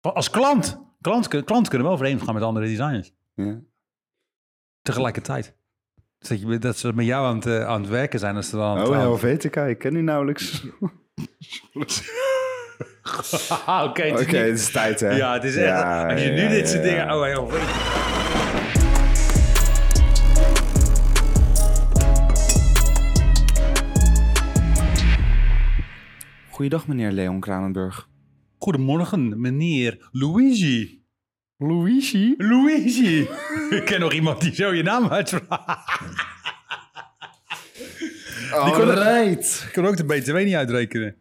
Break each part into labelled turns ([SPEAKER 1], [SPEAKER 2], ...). [SPEAKER 1] Als klant. Klant, klant kunnen wel vreemd gaan met andere designers.
[SPEAKER 2] Ja.
[SPEAKER 1] Tegelijkertijd. Dus dat, je, dat ze met jou aan het, eh, aan het werken zijn. Als ze dan aan het-
[SPEAKER 2] Oh,
[SPEAKER 1] aan-
[SPEAKER 2] ja, Helvetica, ik ken die nauwelijks.
[SPEAKER 1] Ah, Oké, het
[SPEAKER 2] Oké,
[SPEAKER 1] is niet-
[SPEAKER 2] het is tijd, hè?
[SPEAKER 1] Ja, het is echt...
[SPEAKER 2] Ja,
[SPEAKER 1] als je nu
[SPEAKER 2] ja,
[SPEAKER 1] dit
[SPEAKER 2] ja,
[SPEAKER 1] soort
[SPEAKER 2] ja.
[SPEAKER 1] dingen... Oh, heel vreemd.
[SPEAKER 2] Goeiedag, meneer Leon Kranenburg.
[SPEAKER 1] Goedemorgen, meneer Luigi.
[SPEAKER 2] Luigi?
[SPEAKER 1] Luigi. Ik ken nog iemand die zo je naam uitspraakt. Oh,
[SPEAKER 2] Alright.
[SPEAKER 1] Ik kan ook de BTW niet uitrekenen.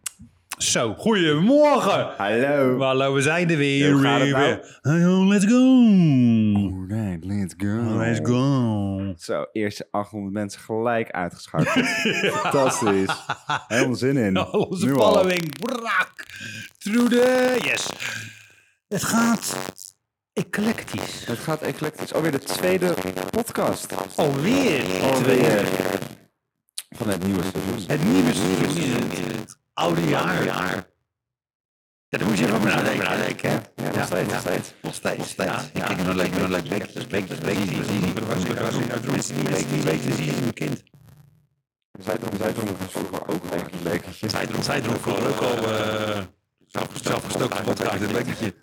[SPEAKER 1] Zo, goedemorgen.
[SPEAKER 2] Hallo.
[SPEAKER 1] Hallo, we zijn er weer.
[SPEAKER 2] Hoe gaat het nou?
[SPEAKER 1] Weer. Hallo, let's go.
[SPEAKER 2] Alright, let's go.
[SPEAKER 1] Let's go.
[SPEAKER 2] Zo, eerste 800 mensen gelijk uitgeschakeld. Fantastisch. Helemaal zin in.
[SPEAKER 1] Nou, onze
[SPEAKER 2] Nu al.
[SPEAKER 1] following. Brak. Trude. Yes. Het gaat eclectisch.
[SPEAKER 2] Het gaat eclectisch. Alweer de tweede podcast.
[SPEAKER 1] Alweer.
[SPEAKER 2] Alweer. Van het nieuwe seizoen.
[SPEAKER 1] Het nieuwe seizoen is het oude jaar. Ja, daar moet je nog maar nadenken. nadenken, hè? Ja, nog steeds, nog steeds. Nog steeds, nog steeds. Ja, ja. Ik ben alleen, ik ben alleen. Week, dus week, dus week. Zie, zie, zie. Mensen die week, die week, die zien hun kind.
[SPEAKER 2] Zijdrom, Zijdrom was vroeger ook eigenlijk een bekertje.
[SPEAKER 1] Zijdrom, Zijdrom, voor ook al eh, zelf- zelfgestookte podcast. Een lekkertje.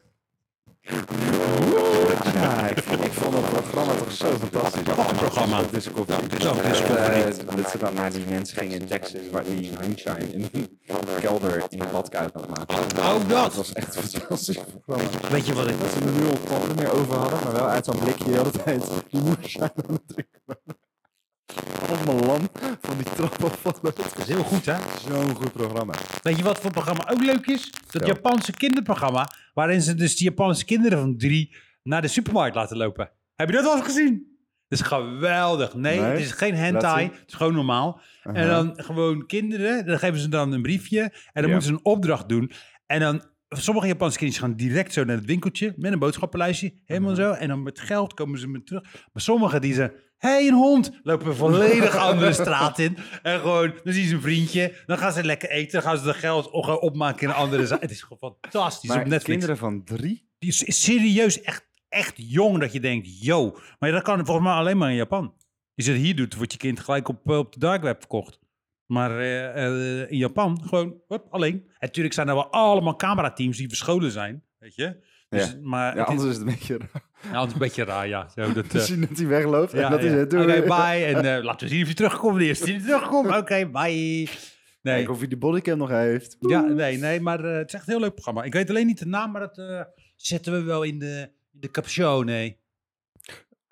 [SPEAKER 2] Ja, ik vond, ik vond dat programma toch zo fantastisch. Wat
[SPEAKER 1] een programma.
[SPEAKER 2] Dat is ook dat
[SPEAKER 1] is ook een
[SPEAKER 2] dat ze dan naar die mensen gingen in Texas waar die moonshine in een kelder in een badkuip aan het maken.
[SPEAKER 1] Oh,
[SPEAKER 2] Dat
[SPEAKER 1] dat.
[SPEAKER 2] was echt een fantastisch programma.
[SPEAKER 1] Weet je wat ik...
[SPEAKER 2] Dat ze er nu al tanden meer over hadden, maar wel uit zo'n blikje de hele tijd die moonshine aan het drinken waren. Op mijn lamp van die trap afvallen.
[SPEAKER 1] Dat is heel goed, hè?
[SPEAKER 2] Zo'n goed programma.
[SPEAKER 1] Weet je wat voor programma ook leuk is? Dat
[SPEAKER 2] Ja.
[SPEAKER 1] Japanse kinderprogramma, waarin ze dus die Japanse kinderen van drie naar de supermarkt laten lopen. Heb je dat al eens gezien? Dat is geweldig. Nee,
[SPEAKER 2] Nee.
[SPEAKER 1] het is geen
[SPEAKER 2] Laat
[SPEAKER 1] hentai.
[SPEAKER 2] zien.
[SPEAKER 1] Het is gewoon normaal.
[SPEAKER 2] Uh-huh.
[SPEAKER 1] En dan gewoon kinderen, dan geven ze dan een briefje en dan
[SPEAKER 2] Ja.
[SPEAKER 1] moeten ze een opdracht doen. En dan, sommige Japanse kinderen gaan direct zo naar het winkeltje met een boodschappenlijstje, helemaal zo. En dan met geld komen ze met terug. Maar sommigen die ze, hé hey, een hond, lopen een volledig andere straat in. En gewoon, dan zien ze een vriendje, dan gaan ze lekker eten, dan gaan ze de geld op- gaan opmaken in een andere zaak. Het is gewoon fantastisch op
[SPEAKER 2] Maar
[SPEAKER 1] Netflix.
[SPEAKER 2] kinderen van drie?
[SPEAKER 1] Die is serieus echt, echt jong dat je denkt, yo. Maar dat kan volgens mij alleen maar in Japan. Als je dat hier doet, wordt je kind gelijk op, eh, op de dark web verkocht. Maar eh, eh, in Japan gewoon hup, alleen. En natuurlijk zijn er wel allemaal camerateams die verscholen zijn. Weet je? Dus,
[SPEAKER 2] Ja.
[SPEAKER 1] Maar
[SPEAKER 2] Ja,
[SPEAKER 1] het is,
[SPEAKER 2] anders is het een beetje raar.
[SPEAKER 1] ja, anders een beetje raar, ja. Zo, dat,
[SPEAKER 2] Te
[SPEAKER 1] eh,
[SPEAKER 2] zien dat hij wegloopt
[SPEAKER 1] ja,
[SPEAKER 2] en dat
[SPEAKER 1] ja. Ah,
[SPEAKER 2] is het.
[SPEAKER 1] Oké,
[SPEAKER 2] Doei.
[SPEAKER 1] bye. En eh, laten we zien of je terugkomt. De eerste die terugkomt. Oké, bye. Nee.
[SPEAKER 2] Kijk of hij die bodycam nog heeft.
[SPEAKER 1] Ja, nee, nee, maar eh, het is echt een heel leuk programma. Ik weet alleen niet de naam, maar dat eh, zetten we wel in de, in de captione.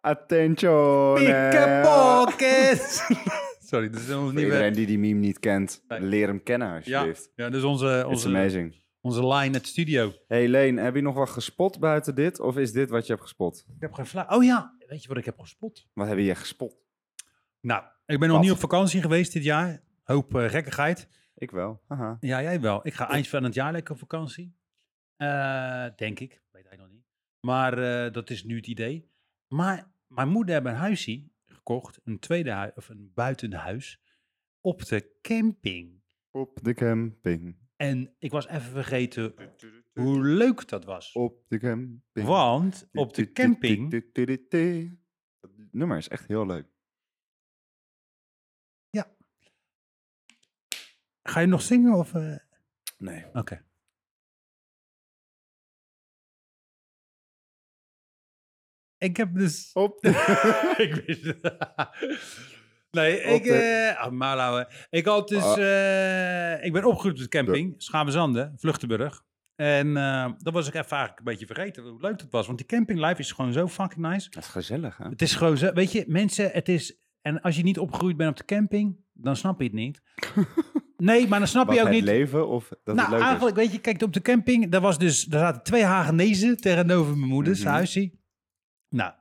[SPEAKER 2] Attention. eh.
[SPEAKER 1] Pickpocket! eh, Sorry, dat is helemaal niet
[SPEAKER 2] Iedereen
[SPEAKER 1] weg.
[SPEAKER 2] die die meme niet kent,
[SPEAKER 1] Nee.
[SPEAKER 2] leer hem kennen
[SPEAKER 1] Ja,
[SPEAKER 2] alsjeblieft.
[SPEAKER 1] ja, dat is onze,
[SPEAKER 2] It's
[SPEAKER 1] onze,
[SPEAKER 2] amazing.
[SPEAKER 1] onze line at studio.
[SPEAKER 2] Hey Leen, heb je nog wat gespot buiten dit? Of is dit wat je hebt gespot?
[SPEAKER 1] Ik heb geen flauw. Oh ja, weet je wat ik heb gespot?
[SPEAKER 2] Wat heb je gespot?
[SPEAKER 1] Nou, ik ben nog
[SPEAKER 2] Wat?
[SPEAKER 1] niet op vakantie geweest dit jaar. Hoop eh, gekkigheid.
[SPEAKER 2] Ik wel. Haha.
[SPEAKER 1] Ja, jij wel. Ik ga eind van het jaar lekker op vakantie. Eh, denk ik. Weet hij nog niet. Maar eh, dat is nu het idee. Maar mijn moeder heeft een huisje gekocht. Een tweede huis, of een buitenhuis. Op de camping.
[SPEAKER 2] Op de camping.
[SPEAKER 1] En ik was even vergeten hoe leuk dat was.
[SPEAKER 2] Op de camping.
[SPEAKER 1] Want op de camping.
[SPEAKER 2] Dat nummer is echt heel leuk.
[SPEAKER 1] Ga je nog zingen? Of, eh,
[SPEAKER 2] Nee.
[SPEAKER 1] Oké. Ik heb dus.
[SPEAKER 2] Op de...
[SPEAKER 1] ik wist het. Nee, ik,
[SPEAKER 2] Op de-
[SPEAKER 1] eh, ah, maar lauwe. ik had dus,
[SPEAKER 2] Ah.
[SPEAKER 1] eh, ik ben opgegroeid op de camping, Schabenzanden, Vluchtenburg. En eh, dat was ik even eigenlijk een beetje vergeten hoe leuk dat was. Want die campinglife is gewoon zo fucking nice.
[SPEAKER 2] Dat is gezellig hè?
[SPEAKER 1] Het is gewoon zo, weet je, mensen, het is, en als je niet opgegroeid bent op de camping, dan snap je het niet. Nee, maar dan snap
[SPEAKER 2] Wat
[SPEAKER 1] je ook
[SPEAKER 2] het
[SPEAKER 1] niet
[SPEAKER 2] leven of dat
[SPEAKER 1] nou,
[SPEAKER 2] het leuk
[SPEAKER 1] eigenlijk, weet je, kijk, op de camping, daar, was dus, daar zaten twee Hagenezen tegenover mijn moeders
[SPEAKER 2] Mhm.
[SPEAKER 1] huisje. Nou,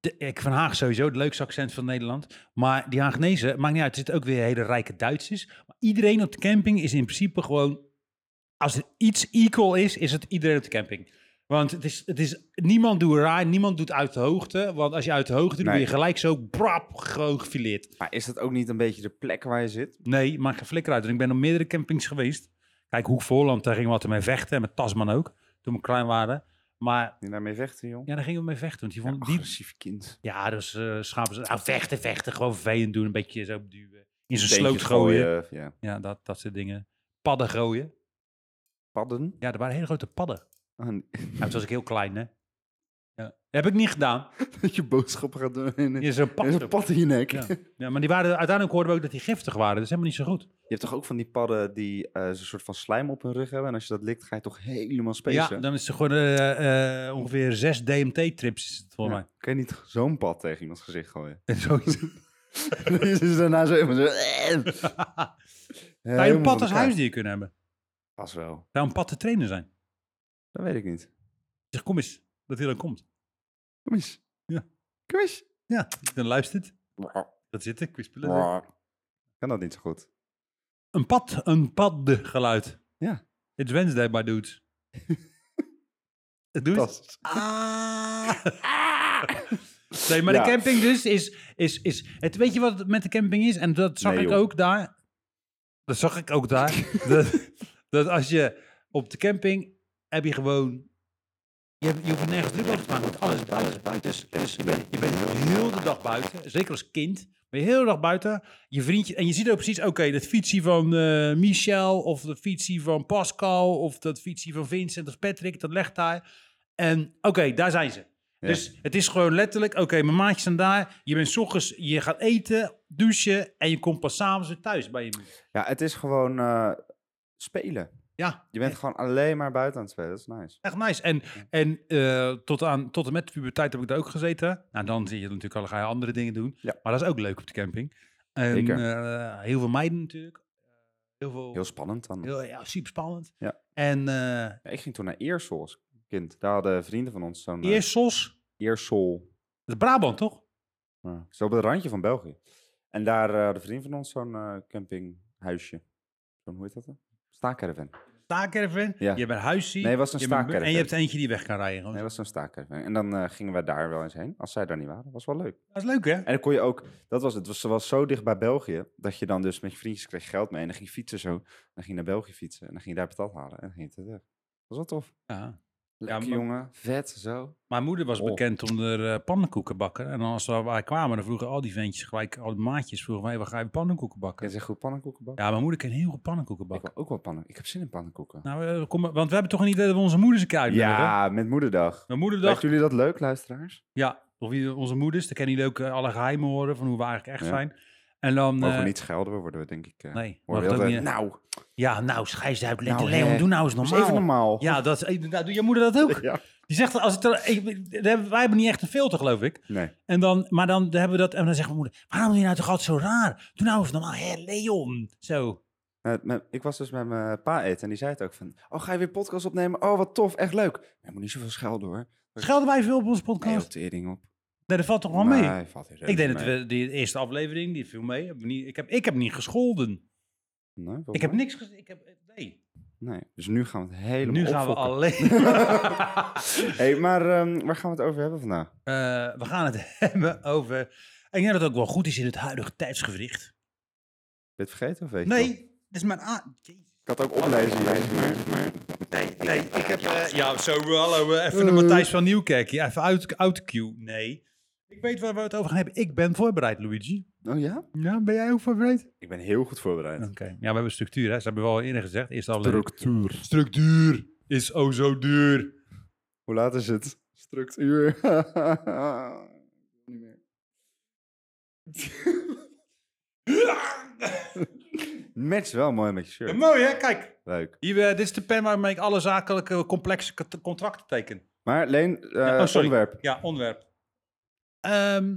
[SPEAKER 1] de, ik van Haag sowieso het leukste accent van Nederland. Maar die Hagenezen, maakt niet uit, er zitten ook weer hele rijke Duitsers. Maar iedereen op de camping is in principe gewoon, als er iets equal is, is het iedereen op de camping. Want het is, het is, niemand doet raar, niemand doet uit de hoogte. Want als je uit de hoogte doet,
[SPEAKER 2] Nee.
[SPEAKER 1] ben je gelijk zo brap, gewoon gefileerd.
[SPEAKER 2] is. Maar is dat ook niet een beetje de plek waar je zit?
[SPEAKER 1] Nee, maak geen flikker uit. En ik ben op meerdere campings geweest. Kijk, Hoek Voorland, daar gingen we altijd mee vechten. En met Tasman ook. toen we klein waren. Maar
[SPEAKER 2] Die daarmee vechten, joh.
[SPEAKER 1] ja, daar gingen we mee vechten. Want die
[SPEAKER 2] Ja,
[SPEAKER 1] vond, die,
[SPEAKER 2] agressief kind.
[SPEAKER 1] ja dus eh schapen ze. Nou, vechten, vechten. Gewoon vervelend doen. Een beetje zo duwen. In zijn sloot
[SPEAKER 2] Steentjes
[SPEAKER 1] gooien.
[SPEAKER 2] Ja.
[SPEAKER 1] Ja, dat, dat soort dingen. Padden gooien.
[SPEAKER 2] Padden.
[SPEAKER 1] Ja, er waren hele grote padden.
[SPEAKER 2] Ah, nee.
[SPEAKER 1] Nou, toen was ik heel klein, hè. Ja. Heb ik niet gedaan.
[SPEAKER 2] Dat je boodschappen gaat doen in,
[SPEAKER 1] Je is een pad.
[SPEAKER 2] in een pad in je nek.
[SPEAKER 1] Ja. Ja, maar die waren, uiteindelijk hoorden we ook dat die giftig waren. Dat is helemaal niet zo goed.
[SPEAKER 2] Je hebt toch ook van die padden die eh zo'n soort van slijm op hun rug hebben. En als je dat likt, ga je toch
[SPEAKER 1] Ja,
[SPEAKER 2] helemaal spacen.
[SPEAKER 1] dan is het gewoon eh, eh, ongeveer zes DMT-trips is het voor
[SPEAKER 2] Ja.
[SPEAKER 1] mij.
[SPEAKER 2] Kan je niet zo'n pad tegen iemands gezicht gooien?
[SPEAKER 1] En zoiets.
[SPEAKER 2] Dan is het daarna zo even zo... eh,
[SPEAKER 1] Zou je
[SPEAKER 2] Helemaal
[SPEAKER 1] een
[SPEAKER 2] van
[SPEAKER 1] pad als
[SPEAKER 2] elkaar.
[SPEAKER 1] huisdier kunnen hebben?
[SPEAKER 2] Pas wel.
[SPEAKER 1] Zou een pad te trainen zijn?
[SPEAKER 2] Dat weet ik niet.
[SPEAKER 1] Zeg, kom eens. Dat hij dan komt.
[SPEAKER 2] Kom eens.
[SPEAKER 1] Ja.
[SPEAKER 2] Kom eens.
[SPEAKER 1] Ja, dan luistert. Dat zit er. kwispelen.
[SPEAKER 2] Kan dat niet zo goed.
[SPEAKER 1] Een pad, een padde-geluid.
[SPEAKER 2] Ja.
[SPEAKER 1] It's Wednesday, my dudes. Doe het.
[SPEAKER 2] Fantastisch.
[SPEAKER 1] Ah. Nee, maar
[SPEAKER 2] Ja.
[SPEAKER 1] de camping dus is, is, is het, weet je wat het met de camping is? En dat zag
[SPEAKER 2] Nee,
[SPEAKER 1] ik
[SPEAKER 2] joh.
[SPEAKER 1] ook daar. Dat zag ik ook daar. dat, dat als je op de camping heb je gewoon, je, hebt- je hoeft nergens druk over te maken, want alles is buiten. is buiten dus, dus je, bent, je bent heel de dag buiten, zeker als kind. Ben je heel de dag buiten, je vriendje, en je ziet ook precies, oké, dat fietsie van eh, Michel, of dat fietsie van Pascal, of dat fietsie van Vincent of Patrick, dat legt daar. En oké, daar zijn ze.
[SPEAKER 2] Ja.
[SPEAKER 1] Dus het is gewoon letterlijk, oké, mijn maatjes zijn daar. Je bent 's ochtends, je gaat eten, douchen en je komt pas s'avonds weer thuis bij je moeder.
[SPEAKER 2] Ja, het is gewoon eh, spelen.
[SPEAKER 1] Ja,
[SPEAKER 2] Je bent gewoon alleen maar buiten aan het spelen. Dat is nice.
[SPEAKER 1] echt nice. En, en eh, tot, aan, tot en met de puberteit heb ik daar ook gezeten. Nou, dan zie je natuurlijk al, ga je andere dingen doen.
[SPEAKER 2] Ja.
[SPEAKER 1] Maar dat is ook leuk op de camping. En,
[SPEAKER 2] Zeker.
[SPEAKER 1] eh, heel veel meiden natuurlijk. Heel veel,
[SPEAKER 2] Heel spannend dan.
[SPEAKER 1] heel- ja, super spannend.
[SPEAKER 2] Ja.
[SPEAKER 1] En eh,
[SPEAKER 2] Ja, ik ging toen naar Eersel als kind. Daar hadden vrienden van ons zo'n eh,
[SPEAKER 1] Eersels,
[SPEAKER 2] Eersel.
[SPEAKER 1] dat is Brabant toch?
[SPEAKER 2] Ja. Zo op het randje van België. En daar eh, hadden vrienden van ons zo'n eh, campinghuisje. Zo'n, hoe heet dat dan? Staakcaravan.
[SPEAKER 1] Oh, Staakcaravan,
[SPEAKER 2] Ja.
[SPEAKER 1] je hebt een huisje.
[SPEAKER 2] Nee, het was een
[SPEAKER 1] je hebt een bu-
[SPEAKER 2] staakcaravan.
[SPEAKER 1] En je hebt eentje die weg kan rijden. gewoon.
[SPEAKER 2] Nee, dat was zo'n staakcaravan. En dan eh, gingen we daar wel eens heen. Als zij daar niet waren. Dat was wel leuk.
[SPEAKER 1] Dat is leuk hè?
[SPEAKER 2] En dan kon je ook, dat was het, was, ze was zo dicht bij België, dat je dan dus met je vriendjes kreeg je geld mee en dan ging je fietsen zo. Dan ging je naar België fietsen en dan ging je daar patat halen en dan ging je terug. Dat was wel tof.
[SPEAKER 1] Ja.
[SPEAKER 2] Lekker
[SPEAKER 1] maar-
[SPEAKER 2] jongen, vet, zo.
[SPEAKER 1] Mijn moeder was
[SPEAKER 2] Oh.
[SPEAKER 1] bekend om er eh, pannenkoeken bakken. En als we wij kwamen, dan vroegen al die ventjes gelijk, al die maatjes vroegen wij, we gaan pannenkoeken bakken.
[SPEAKER 2] Kan je zeggen goed pannenkoeken bakken?
[SPEAKER 1] Ja, mijn moeder kan heel goed pannenkoeken
[SPEAKER 2] ik
[SPEAKER 1] bakken.
[SPEAKER 2] wil ook wel pannen. Ik heb zin in pannenkoeken.
[SPEAKER 1] Nou, eh, kom, maar- want we hebben toch een idee dat we onze moeders een keer uitnodigen?
[SPEAKER 2] ja, met moederdag.
[SPEAKER 1] Mijn moeder
[SPEAKER 2] Dachten
[SPEAKER 1] dacht,
[SPEAKER 2] jullie dat leuk, luisteraars?
[SPEAKER 1] ja, of wie- onze moeders, dan kennen jullie ook eh, alle geheimen horen van hoe we eigenlijk echt
[SPEAKER 2] Ja.
[SPEAKER 1] zijn. En dan...
[SPEAKER 2] Mogen we
[SPEAKER 1] eh,
[SPEAKER 2] niet schelden, we worden we denk ik... eh,
[SPEAKER 1] Nee,
[SPEAKER 2] worden
[SPEAKER 1] mag
[SPEAKER 2] we
[SPEAKER 1] het ook
[SPEAKER 2] altijd,
[SPEAKER 1] niet. hè?
[SPEAKER 2] Nou,
[SPEAKER 1] Ja, nou, schijs uit.
[SPEAKER 2] Nou, hè.
[SPEAKER 1] Leon, doe nou eens
[SPEAKER 2] dat is
[SPEAKER 1] normaal.
[SPEAKER 2] even normaal.
[SPEAKER 1] Ja, dat, is- eh, nou, doet je moeder dat ook?
[SPEAKER 2] Ja.
[SPEAKER 1] Die zegt, als het, er- ik, wij hebben niet echt een filter, geloof ik.
[SPEAKER 2] Nee,
[SPEAKER 1] En dan, maar dan hebben we dat. En dan zegt mijn moeder: Waarom doe je nou toch altijd zo raar? Doe nou eens normaal, hè, Leon. Zo.
[SPEAKER 2] Eh, met- ik was dus met mijn pa eten en die zei het ook van... Oh, ga je weer podcast opnemen? Oh, wat tof, echt leuk. Maar je moet niet zoveel schelden hoor.
[SPEAKER 1] Schelden wij veel op onze
[SPEAKER 2] Nee,
[SPEAKER 1] podcast?
[SPEAKER 2] joh, tering op.
[SPEAKER 1] Nee, dat valt toch wel mee?
[SPEAKER 2] Nee, valt heel
[SPEAKER 1] Ik denk
[SPEAKER 2] reuze
[SPEAKER 1] dat
[SPEAKER 2] mee.
[SPEAKER 1] we die eerste aflevering, die viel mee. Hebben we niet- Ik heb, ik heb niet gescholden.
[SPEAKER 2] Nee, volgens
[SPEAKER 1] Ik heb
[SPEAKER 2] mij-
[SPEAKER 1] niks gezegd. Ik heb, nee.
[SPEAKER 2] nee. Dus nu gaan we het helemaal
[SPEAKER 1] Nu gaan we
[SPEAKER 2] opfokken.
[SPEAKER 1] alleen.
[SPEAKER 2] Hey, maar ehm, waar gaan we het over hebben vandaag?
[SPEAKER 1] Eh, we gaan het hebben over. En ik denk dat het ook wel goed is in het huidige tijdsgewricht.
[SPEAKER 2] Ben je het vergeten of weet je het nog?
[SPEAKER 1] Nee, dit is mijn. a-
[SPEAKER 2] Ik had het ook oplezen.
[SPEAKER 1] Nee, nee, ik heb... eh, ja, zo, hallo, eh, even de Matthijs van Nieuwkerk. Ja, even uit, out cue. Nee. Ik weet waar we het over gaan hebben. Ik ben voorbereid, Luigi.
[SPEAKER 2] Oh ja?
[SPEAKER 1] Ja, ben jij ook voorbereid?
[SPEAKER 2] Ik ben heel goed
[SPEAKER 1] Oké.
[SPEAKER 2] voorbereid.
[SPEAKER 1] Ja, we hebben structuur, hè. Ze hebben wel eerder gezegd. Eerst al
[SPEAKER 2] Structuur.
[SPEAKER 1] Structuur is oh zo duur.
[SPEAKER 2] Hoe laat is het? Structuur. Niet meer. Match wel mooi met je
[SPEAKER 1] Ja,
[SPEAKER 2] shirt.
[SPEAKER 1] Eh, mooi, hè? Kijk.
[SPEAKER 2] Leuk.
[SPEAKER 1] Hier, eh, dit is de pen waarmee ik alle zakelijke complexe kat- contracten teken.
[SPEAKER 2] Maar Leen, eh
[SPEAKER 1] Ja, oh, sorry.
[SPEAKER 2] onderwerp.
[SPEAKER 1] Ja, onderwerp. Ehm,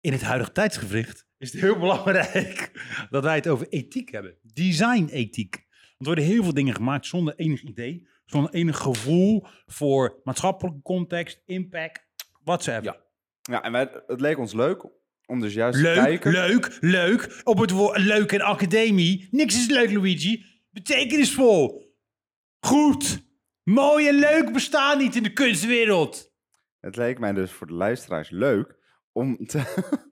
[SPEAKER 1] in het huidige tijdsgevricht is het heel belangrijk dat wij het over ethiek hebben. Design-ethiek. Want er worden heel veel dingen gemaakt zonder enig idee, zonder enig gevoel voor maatschappelijke context, impact, whatsoever.
[SPEAKER 2] Ja. Ja, en wij, het leek ons leuk om dus juist te
[SPEAKER 1] Leuk,
[SPEAKER 2] kijken.
[SPEAKER 1] leuk, leuk. Op het woord leuk en academie. Niks is leuk, Luigi. Betekenisvol. Goed. Mooi en leuk bestaan niet in de kunstwereld.
[SPEAKER 2] Het leek mij dus voor de luisteraars leuk om, te,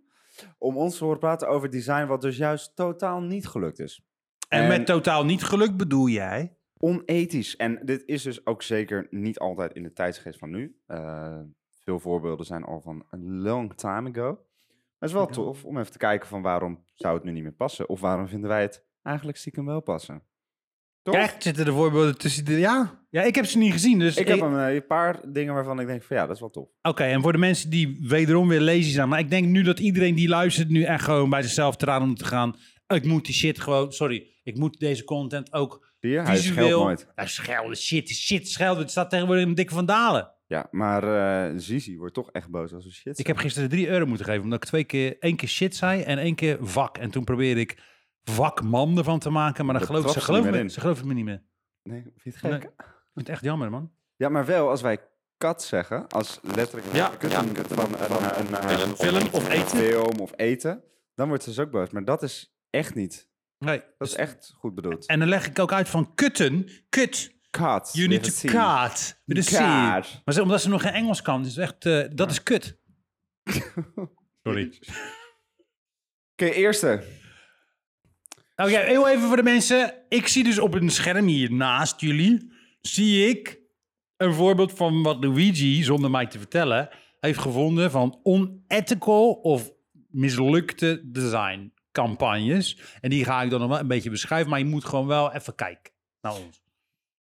[SPEAKER 2] om ons te horen praten over design, wat dus juist totaal niet gelukt is.
[SPEAKER 1] En,
[SPEAKER 2] En-
[SPEAKER 1] met totaal niet geluk bedoel jij?
[SPEAKER 2] onethisch. En dit is dus ook zeker niet altijd in de tijdsgeest van nu. Eh, veel voorbeelden zijn al van een long time ago. Maar het is wel
[SPEAKER 1] Ago.
[SPEAKER 2] tof om even te kijken van waarom zou het nu niet meer passen? Of waarom vinden wij het eigenlijk stiekem wel passen? Toch?
[SPEAKER 1] Kijk, zitten er voorbeelden tussen de... Ja, ja ik heb ze niet gezien, dus...
[SPEAKER 2] ik heb een, eh, een paar dingen waarvan ik denk van ja, dat is wel tof.
[SPEAKER 1] Oké, en voor de mensen die wederom weer lazy zijn. Maar ik denk nu dat iedereen die luistert nu echt gewoon bij zichzelf eraan om te gaan. Ik moet die shit gewoon... Sorry, ik moet deze content ook
[SPEAKER 2] Zie je? Hij
[SPEAKER 1] visueel...
[SPEAKER 2] scheelt nooit.
[SPEAKER 1] Ja, schelden, shit, shit, schelden. Het staat tegenwoordig in dikke van Dalen.
[SPEAKER 2] Ja, maar eh Zizi wordt toch echt boos als we shit
[SPEAKER 1] Ik
[SPEAKER 2] zeggen.
[SPEAKER 1] heb gisteren 3 euro moeten geven, omdat ik twee keer, één keer shit zei en één keer vak. En toen probeerde ik vakman ervan te maken, maar dan
[SPEAKER 2] Dat
[SPEAKER 1] geloof, ze,
[SPEAKER 2] trapt ze niet
[SPEAKER 1] geloven
[SPEAKER 2] meer
[SPEAKER 1] me,
[SPEAKER 2] in.
[SPEAKER 1] ze geloven me niet meer.
[SPEAKER 2] Nee, vind je het gek?
[SPEAKER 1] Nee. Ik vind het echt jammer, man.
[SPEAKER 2] Ja, maar wel als wij kat zeggen, als letterlijk
[SPEAKER 1] Ja,
[SPEAKER 2] een-
[SPEAKER 3] ja.
[SPEAKER 2] een- van een, een,
[SPEAKER 3] Een film of eten.
[SPEAKER 2] film of eten, dan wordt ze dus ook boos. Maar dat is echt niet.
[SPEAKER 1] Nee.
[SPEAKER 2] Dat is echt goed bedoeld.
[SPEAKER 1] En dan leg ik ook uit van kutten. Kut,
[SPEAKER 2] Kat.
[SPEAKER 1] Eh, you need to cut. Met een C.
[SPEAKER 2] Kaart.
[SPEAKER 1] Maar ze- omdat ze nog geen Engels kan, is het echt, eh, dat is kut. Sorry.
[SPEAKER 2] Oké, eerste.
[SPEAKER 1] Oké, Oh heel even voor de mensen. Ik zie dus op een scherm hier naast jullie, zie ik een voorbeeld van wat Luigi, zonder mij te vertellen, heeft gevonden van unethical of mislukte design campagnes. En die ga ik dan nog wel een beetje beschrijven, maar je moet gewoon wel even kijken naar ons.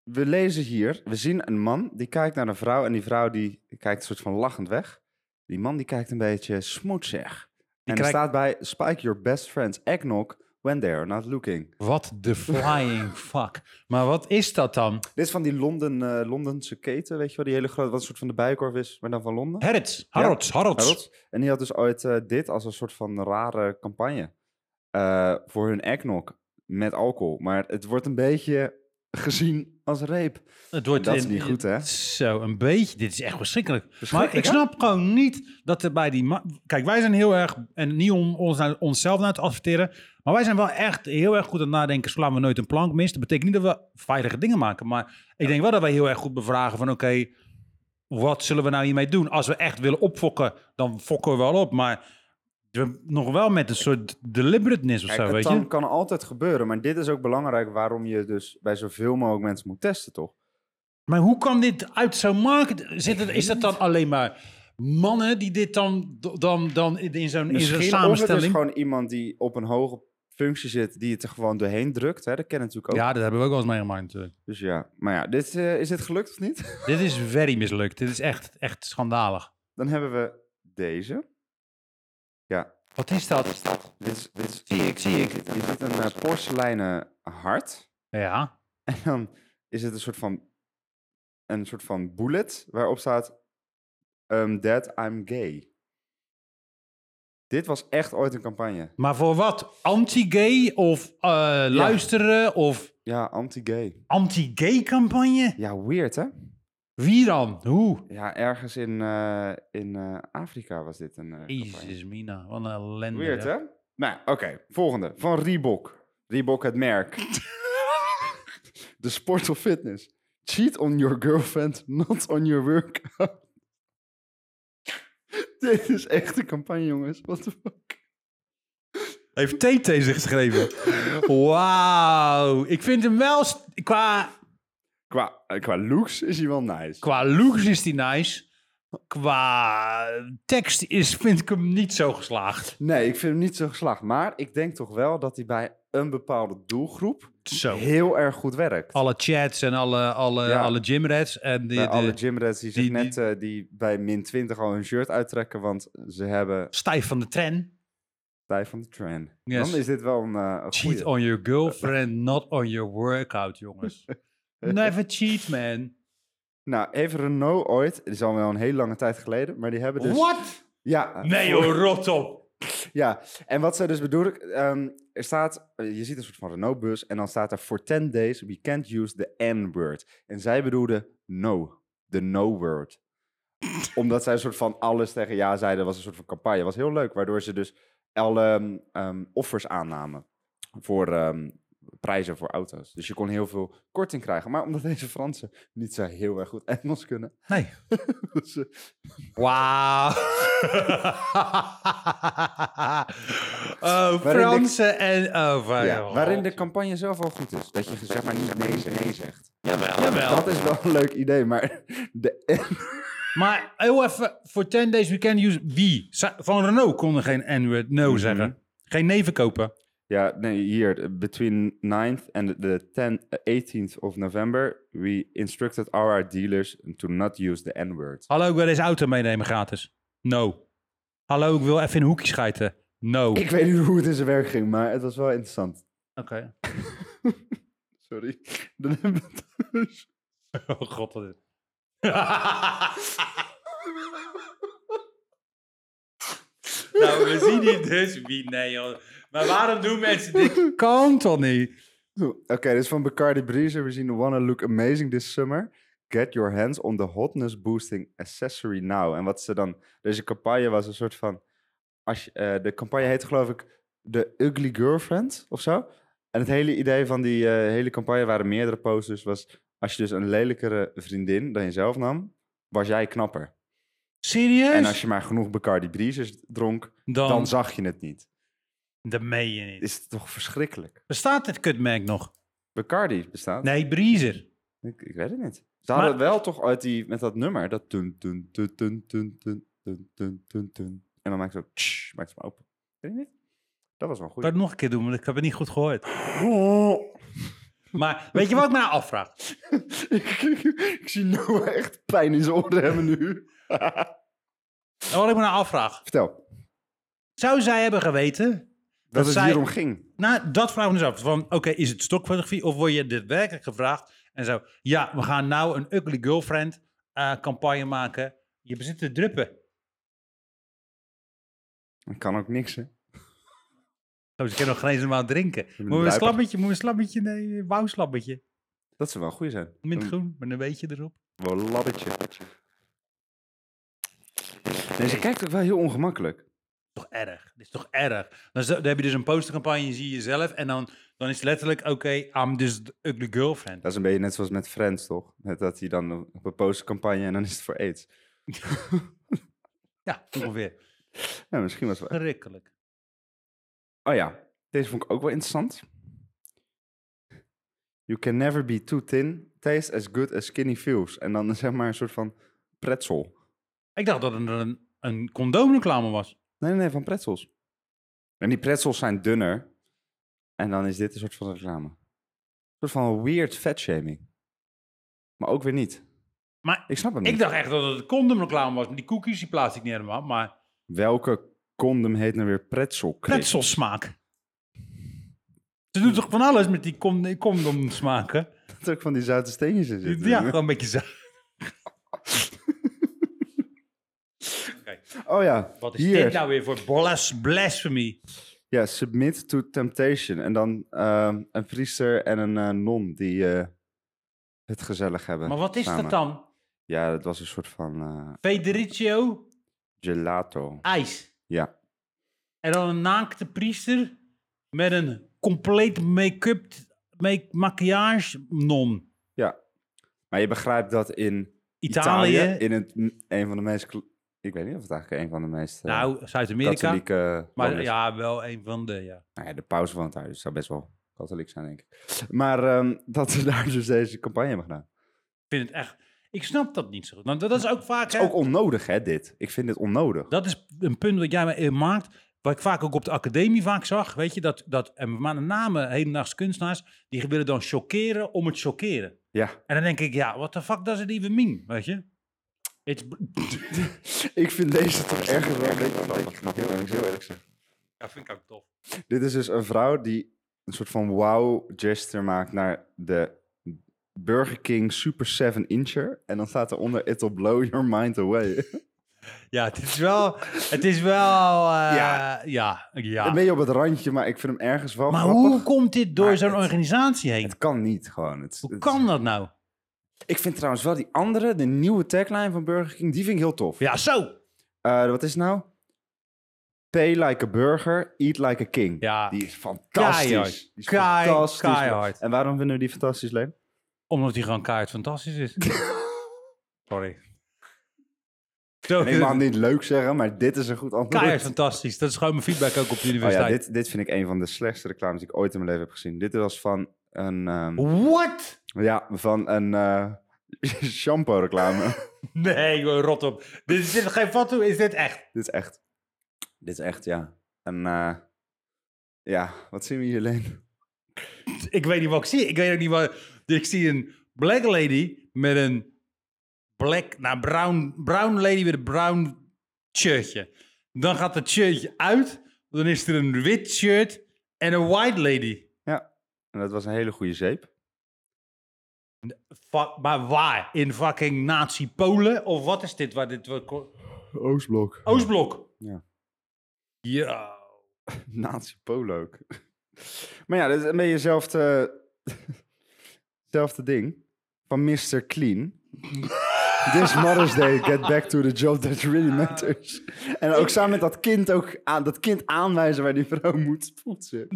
[SPEAKER 2] We lezen hier, we zien een man die kijkt naar een vrouw en die vrouw die kijkt een soort van lachend weg. Die man die kijkt een beetje smoetsig. en er
[SPEAKER 1] kijkt-
[SPEAKER 2] staat bij, spike your best friend's eggnog when they are not looking.
[SPEAKER 1] Wat de flying fuck. Maar wat is dat dan?
[SPEAKER 2] Dit is van die Londen, eh, Londense keten, weet je wel? Die hele grote, wat een soort van de bijenkorf is, maar dan van Londen.
[SPEAKER 1] Harrods, Harrods, Harrods.
[SPEAKER 2] Harold. En die had dus ooit eh, dit als een soort van rare campagne eh, voor hun eggnog met alcohol. Maar het wordt een beetje gezien als reep.
[SPEAKER 1] Het wordt
[SPEAKER 2] Dat is
[SPEAKER 1] in-
[SPEAKER 2] niet goed, hè?
[SPEAKER 1] Zo, een beetje. Dit is echt verschrikkelijk. Maar ik
[SPEAKER 2] Verschrikkelijk,
[SPEAKER 1] snap gewoon niet dat er bij die... ma- Kijk, wij zijn heel erg... En niet om ons naar, onszelf naar te adverteren... Maar wij zijn wel echt heel erg goed aan het nadenken... slaan we nooit een plank mis. Dat betekent niet dat we veilige dingen maken. Maar ik denk wel dat wij heel erg goed bevragen van... Oké, wat zullen we nou hiermee doen? Als we echt willen opfokken, dan fokken we wel op. Maar we, nog wel met een soort deliberateness of
[SPEAKER 2] Kijk,
[SPEAKER 1] zo,
[SPEAKER 2] het
[SPEAKER 1] weet
[SPEAKER 2] kan,
[SPEAKER 1] je?
[SPEAKER 2] kan altijd gebeuren, maar dit is ook belangrijk waarom je dus bij zoveel mogelijk mensen moet testen, toch?
[SPEAKER 1] Maar hoe kan dit uit zo'n markt... Zit het, is dat dan alleen maar mannen die dit dan, dan, dan in zo'n in zo'n
[SPEAKER 2] of het is
[SPEAKER 1] samenstelling...
[SPEAKER 2] gewoon dus iemand die op een hoge functie zit, die het er gewoon doorheen drukt. Hè? Dat kennen natuurlijk ook.
[SPEAKER 1] Ja, dat hebben we ook wel eens meegemaakt natuurlijk.
[SPEAKER 2] Dus ja, maar ja, dit, eh, is dit gelukt of niet?
[SPEAKER 1] Dit is very mislukt. Dit is echt, echt schandalig.
[SPEAKER 2] Dan hebben we deze.
[SPEAKER 1] Wat is dat?
[SPEAKER 2] Dit is, dit is,
[SPEAKER 3] Zie ik, zie ik.
[SPEAKER 2] hier zit een eh, porseleinen hart.
[SPEAKER 1] Ja.
[SPEAKER 2] En dan is het een soort van, een soort van bullet waarop staat... Um, that I'm gay. Dit was echt ooit een campagne.
[SPEAKER 1] Maar voor wat? Anti-gay of eh, luisteren of
[SPEAKER 2] Ja, anti-gay.
[SPEAKER 1] anti-gay campagne?
[SPEAKER 2] Ja, weird hè?
[SPEAKER 1] Wie dan? Hoe?
[SPEAKER 2] Ja, ergens in, eh, in eh, Afrika was dit een eh, campagne.
[SPEAKER 1] Jezus mina, wat een ellende.
[SPEAKER 2] Weird
[SPEAKER 1] hè?
[SPEAKER 2] hè? Nou, oké. Volgende. Van Reebok. Reebok het merk. De sport of fitness. Cheat on your girlfriend, not on your workout. Dit is echt een campagne, jongens. What the fuck?
[SPEAKER 1] Heeft TT zich geschreven? Wauw. Ik vind hem wel... st- Qua,
[SPEAKER 2] Qua, eh, qua looks is hij wel nice.
[SPEAKER 1] qua looks is hij nice. Qua tekst is, vind ik hem niet zo geslaagd.
[SPEAKER 2] Nee, ik vind hem niet zo geslaagd. Maar ik denk toch wel dat hij bij een bepaalde doelgroep
[SPEAKER 1] Zo.
[SPEAKER 2] heel erg goed werkt.
[SPEAKER 1] Alle chats en alle, alle,
[SPEAKER 2] Ja.
[SPEAKER 1] alle gymrats. En die,
[SPEAKER 2] bij
[SPEAKER 1] de-
[SPEAKER 2] alle gymrats die, zich
[SPEAKER 1] die-
[SPEAKER 2] net eh, die bij min 20 al hun shirt uittrekken, want ze hebben
[SPEAKER 1] stijf van de tren.
[SPEAKER 2] tijd van de trend.
[SPEAKER 1] Yes. oh.
[SPEAKER 2] Dan is dit wel een, eh een
[SPEAKER 1] Cheat
[SPEAKER 2] goeie.
[SPEAKER 1] on your girlfriend, not on your workout, jongens. Never cheat, man.
[SPEAKER 2] Nou, even Renault ooit, dat is al wel een hele lange tijd geleden, maar die hebben dus...
[SPEAKER 1] What?
[SPEAKER 2] Ja,
[SPEAKER 1] Nee joh, rot op.
[SPEAKER 2] ja, en wat zij dus bedoelen, ehm, er staat, eh, je ziet een soort van Renault-bus en dan staat er for 10 days we can't use the N-word. En zij bedoelde no, the no-word. Omdat zij een soort van alles tegen ja zeiden, was een soort van campagne. was heel leuk, waardoor ze dus alle ehm, offers aannamen voor ehm, prijzen voor auto's. Dus je kon heel veel korting krijgen. Maar omdat deze Fransen niet zo heel erg goed Engels kunnen.
[SPEAKER 1] Nee.
[SPEAKER 2] dus, eh,
[SPEAKER 1] Wauw. Eh, oh,
[SPEAKER 2] Waarin de-
[SPEAKER 1] Fransen en... Oh, van-
[SPEAKER 2] ja, waarin de campagne zelf al goed is. Dat je zeg maar niet nee, zegt, nee zegt.
[SPEAKER 1] Jawel, jawel.
[SPEAKER 2] Dat is wel een leuk idee, maar de e- N...
[SPEAKER 1] Maar heel even, voor 10 days we can use wie? Sa- Van Renault konden geen N-word, no
[SPEAKER 2] Mhm.
[SPEAKER 1] zeggen. Geen neven kopen.
[SPEAKER 2] Ja, nee, hier, eh, between 9th and the 10th, eh, 18th of November, we instructed our dealers to not use the N-word.
[SPEAKER 1] Hallo, ik wil deze auto meenemen gratis. No. Hallo, ik wil even in een hoekje schijten. No.
[SPEAKER 2] Ik weet niet hoe het in zijn werk ging, maar het was wel interessant.
[SPEAKER 1] Oké.
[SPEAKER 2] Sorry. Dan hebben we het dus.
[SPEAKER 1] Oh god, wat is nou, we zien hier dus wie, nee joh. Maar waarom doen mensen dit? Kan toch niet?
[SPEAKER 2] Oké, dit is van Bacardi Breezer. We zien Wanna Look Amazing this summer. Get your hands on the hotness boosting accessory now. En wat ze dan... Deze campagne was een soort van... Als je, eh, de campagne heet geloof ik The Ugly Girlfriend of zo. En het hele idee van die eh, hele campagne waren meerdere posters. Was als je dus een lelijkere vriendin dan jezelf nam, was jij knapper. En als
[SPEAKER 1] Serieus?
[SPEAKER 2] je maar genoeg Bacardi Breezers dronk,
[SPEAKER 1] Dan,
[SPEAKER 2] dan zag je het niet.
[SPEAKER 1] dat meen je niet.
[SPEAKER 2] Is het toch verschrikkelijk?
[SPEAKER 1] Bestaat dit kutmerk nog?
[SPEAKER 2] Bacardi bestaat.
[SPEAKER 1] Nee, Breezer.
[SPEAKER 2] Ik, ik weet het niet. Ze
[SPEAKER 1] Maar-
[SPEAKER 2] hadden het wel toch uit die, met dat nummer, dat tun tun tun tun tun tun tun tun tun tun. En dan maakt ze ook, tsch, maakt ze maar open. Weet je niet? Dat was wel
[SPEAKER 1] Ik kan
[SPEAKER 2] goed.
[SPEAKER 1] het nog een keer doen, want ik heb het niet goed gehoord. Maar weet je wat ik me nou afvraag?
[SPEAKER 2] ik zie Noah echt pijn in zijn oren hebben nu.
[SPEAKER 1] Wat ik me nou afvraag.
[SPEAKER 2] Vertel,
[SPEAKER 1] Zou zij hebben geweten...
[SPEAKER 2] dat het
[SPEAKER 1] zij-
[SPEAKER 2] hierom ging.
[SPEAKER 1] Nou, dat vraag ik me dus af. Van, oké, is het stokfotografie of word je dit werkelijk gevraagd? En zo, ja, we gaan nou een ugly girlfriend eh, campagne maken. Je bezit te druppen.
[SPEAKER 2] Dat kan ook niks, hè?
[SPEAKER 1] Zo, ze kunnen nog geen eens normaal drinken. Moet we een
[SPEAKER 2] Luiper.
[SPEAKER 1] slabbetje, moet we een slabbetje, nee, een wouwslabbetje.
[SPEAKER 2] Dat zou wel goed zijn.
[SPEAKER 1] Mint
[SPEAKER 2] Een-
[SPEAKER 1] groen, met een beetje erop.
[SPEAKER 2] Wel een labbetje. Nee, ze kijkt ook wel heel ongemakkelijk.
[SPEAKER 1] Toch erg. Dit is toch erg. Dan, is- dan heb je dus een postercampagne, zie je jezelf. En dan, dan is het letterlijk, oké, I'm this ugly girlfriend.
[SPEAKER 2] Dat is een beetje net zoals met Friends, toch? Net dat hij dan op een postcampagne en dan is het voor aids.
[SPEAKER 1] Ja, ongeveer.
[SPEAKER 2] Ja, misschien was het wel...
[SPEAKER 1] Verrukkelijk.
[SPEAKER 2] Oh ja, deze vond ik ook wel interessant. You can never be too thin, taste as good as skinny feels. En dan zeg maar een soort van pretzel.
[SPEAKER 1] Ik dacht dat het een, een condoomreclame was.
[SPEAKER 2] Nee, nee, nee, van pretzels. En die pretzels zijn dunner. En dan is dit een soort van reclame. Een soort van weird fatshaming. Maar ook weer niet.
[SPEAKER 1] Maar
[SPEAKER 2] Ik snap hem niet.
[SPEAKER 1] ik dacht echt dat het een condoomreclame was. Maar die cookies, die plaats ik niet helemaal. Maar
[SPEAKER 2] Welke condom heet nou weer pretzel?
[SPEAKER 1] pretzelsmaak. Ze
[SPEAKER 2] Hm.
[SPEAKER 1] doen toch van alles met die con- condoomsmaken?
[SPEAKER 2] Dat ook van die zoute steentjes in zitten.
[SPEAKER 1] Ja, gewoon een beetje zo. Oké,
[SPEAKER 2] Oh ja,
[SPEAKER 1] Wat is
[SPEAKER 2] hier.
[SPEAKER 1] dit nou weer voor blas blasphemy?
[SPEAKER 2] Ja, submit to temptation. En dan ehm, een priester en een eh, non die eh, het gezellig hebben.
[SPEAKER 1] Maar wat is
[SPEAKER 2] samen.
[SPEAKER 1] dat dan?
[SPEAKER 2] Ja, dat was een soort van eh,
[SPEAKER 1] Federico
[SPEAKER 2] gelato.
[SPEAKER 1] ijs.
[SPEAKER 2] Ja.
[SPEAKER 1] En dan een naakte priester met een compleet make-up, make maquillage non.
[SPEAKER 2] ja. Maar je begrijpt dat in
[SPEAKER 1] Italië.
[SPEAKER 2] Italië, in het, m- een van de meest... kl- Ik weet niet of het eigenlijk een van de meest eh,
[SPEAKER 1] nou, Zuid-Amerika.
[SPEAKER 2] katholieke...
[SPEAKER 1] Maar
[SPEAKER 2] landen is.
[SPEAKER 1] ja, wel een van de, ja.
[SPEAKER 2] Nou ja, de paus woont daar, dus zou best wel katholiek zijn, denk ik. Maar ehm, dat ze daar dus deze campagne hebben gedaan.
[SPEAKER 1] Ik vind het echt... Ik snap dat niet zo goed. Nou, dat is ook vaak...
[SPEAKER 2] Het
[SPEAKER 1] hè,
[SPEAKER 2] is ook onnodig, hè, dit. Ik vind dit onnodig.
[SPEAKER 1] dat is een punt wat jij ma- eh, maakt... Wat ik vaak ook op de academie vaak zag, weet je, dat, dat en met name hedendaagse kunstenaars, die willen dan chockeren om het chockeren.
[SPEAKER 2] Ja.
[SPEAKER 1] En dan denk ik, ja, what the fuck does it even mean, weet je? It's...
[SPEAKER 2] Ik vind deze toch erger dan ik snap heel erg heel erg
[SPEAKER 1] Ja, vind ik ook tof.
[SPEAKER 2] Dit is dus een vrouw die een soort van wow gesture maakt naar de Burger King Super 7 Incher. En dan staat eronder, it'll blow your mind away.
[SPEAKER 1] Ja, het is wel... Het is wel... eh,
[SPEAKER 2] Ja.
[SPEAKER 1] ja. Ja,
[SPEAKER 2] Dan ben je op het randje, maar ik vind hem ergens wel
[SPEAKER 1] Maar
[SPEAKER 2] grappig.
[SPEAKER 1] hoe komt dit door
[SPEAKER 2] Maar
[SPEAKER 1] zo'n
[SPEAKER 2] het-
[SPEAKER 1] organisatie heen?
[SPEAKER 2] Het kan niet gewoon. Het,
[SPEAKER 1] Hoe
[SPEAKER 2] het-
[SPEAKER 1] kan dat nou?
[SPEAKER 2] Ik vind trouwens wel die andere, de nieuwe tagline van Burger King, die vind ik heel tof.
[SPEAKER 1] Ja, zo!
[SPEAKER 2] Eh, wat is het nou? Pay like a burger, eat like a king.
[SPEAKER 1] Ja.
[SPEAKER 2] Die is fantastisch.
[SPEAKER 1] Keihard.
[SPEAKER 2] Die is
[SPEAKER 1] Kei-
[SPEAKER 2] fantastisch.
[SPEAKER 1] keihard.
[SPEAKER 2] En waarom vinden we die fantastisch, Leen?
[SPEAKER 1] Omdat die gewoon kaart fantastisch is. Sorry. Zo,
[SPEAKER 2] Nee, ik mag niet leuk zeggen, maar dit is een goed antwoord.
[SPEAKER 1] Keihard fantastisch. Dat is gewoon mijn feedback ook op de
[SPEAKER 2] Oh ja,
[SPEAKER 1] universiteit.
[SPEAKER 2] dit, dit vind ik een van de slechtste reclames die ik ooit in mijn leven heb gezien. Dit was van een,
[SPEAKER 1] Oh.
[SPEAKER 2] ehm,
[SPEAKER 1] What?
[SPEAKER 2] ja, van een eh, shampoo-reclame.
[SPEAKER 1] Nee, joh, rot op. Dit is, dit is geen fatu, is dit echt?
[SPEAKER 2] dit is echt. Dit is echt, ja. En eh, ja, wat zien we hier, Leen?
[SPEAKER 1] Ik weet niet wat ik zie. Ik weet ook niet wat... Ik zie een black lady met een black... Nou, brown, brown lady met een brown shirtje. Dan gaat dat shirtje uit. Dan is er een wit shirt en een white lady.
[SPEAKER 2] Ja, en dat was een hele goede zeep.
[SPEAKER 1] Fuck, maar waar? In fucking Nazi-Polen? Of wat is dit? Waar dit wat-
[SPEAKER 2] Oostblok.
[SPEAKER 1] Oostblok.
[SPEAKER 2] Ja.
[SPEAKER 1] Ja.
[SPEAKER 2] Nazi polo ook. maar ja, dat is een beetje hetzelfde, hetzelfde ding. Van Mr. Clean. This Mother's Day, get back to the job that really matters. En ook samen met dat kind, ook aan, dat kind aanwijzen waar die vrouw moet poetsen.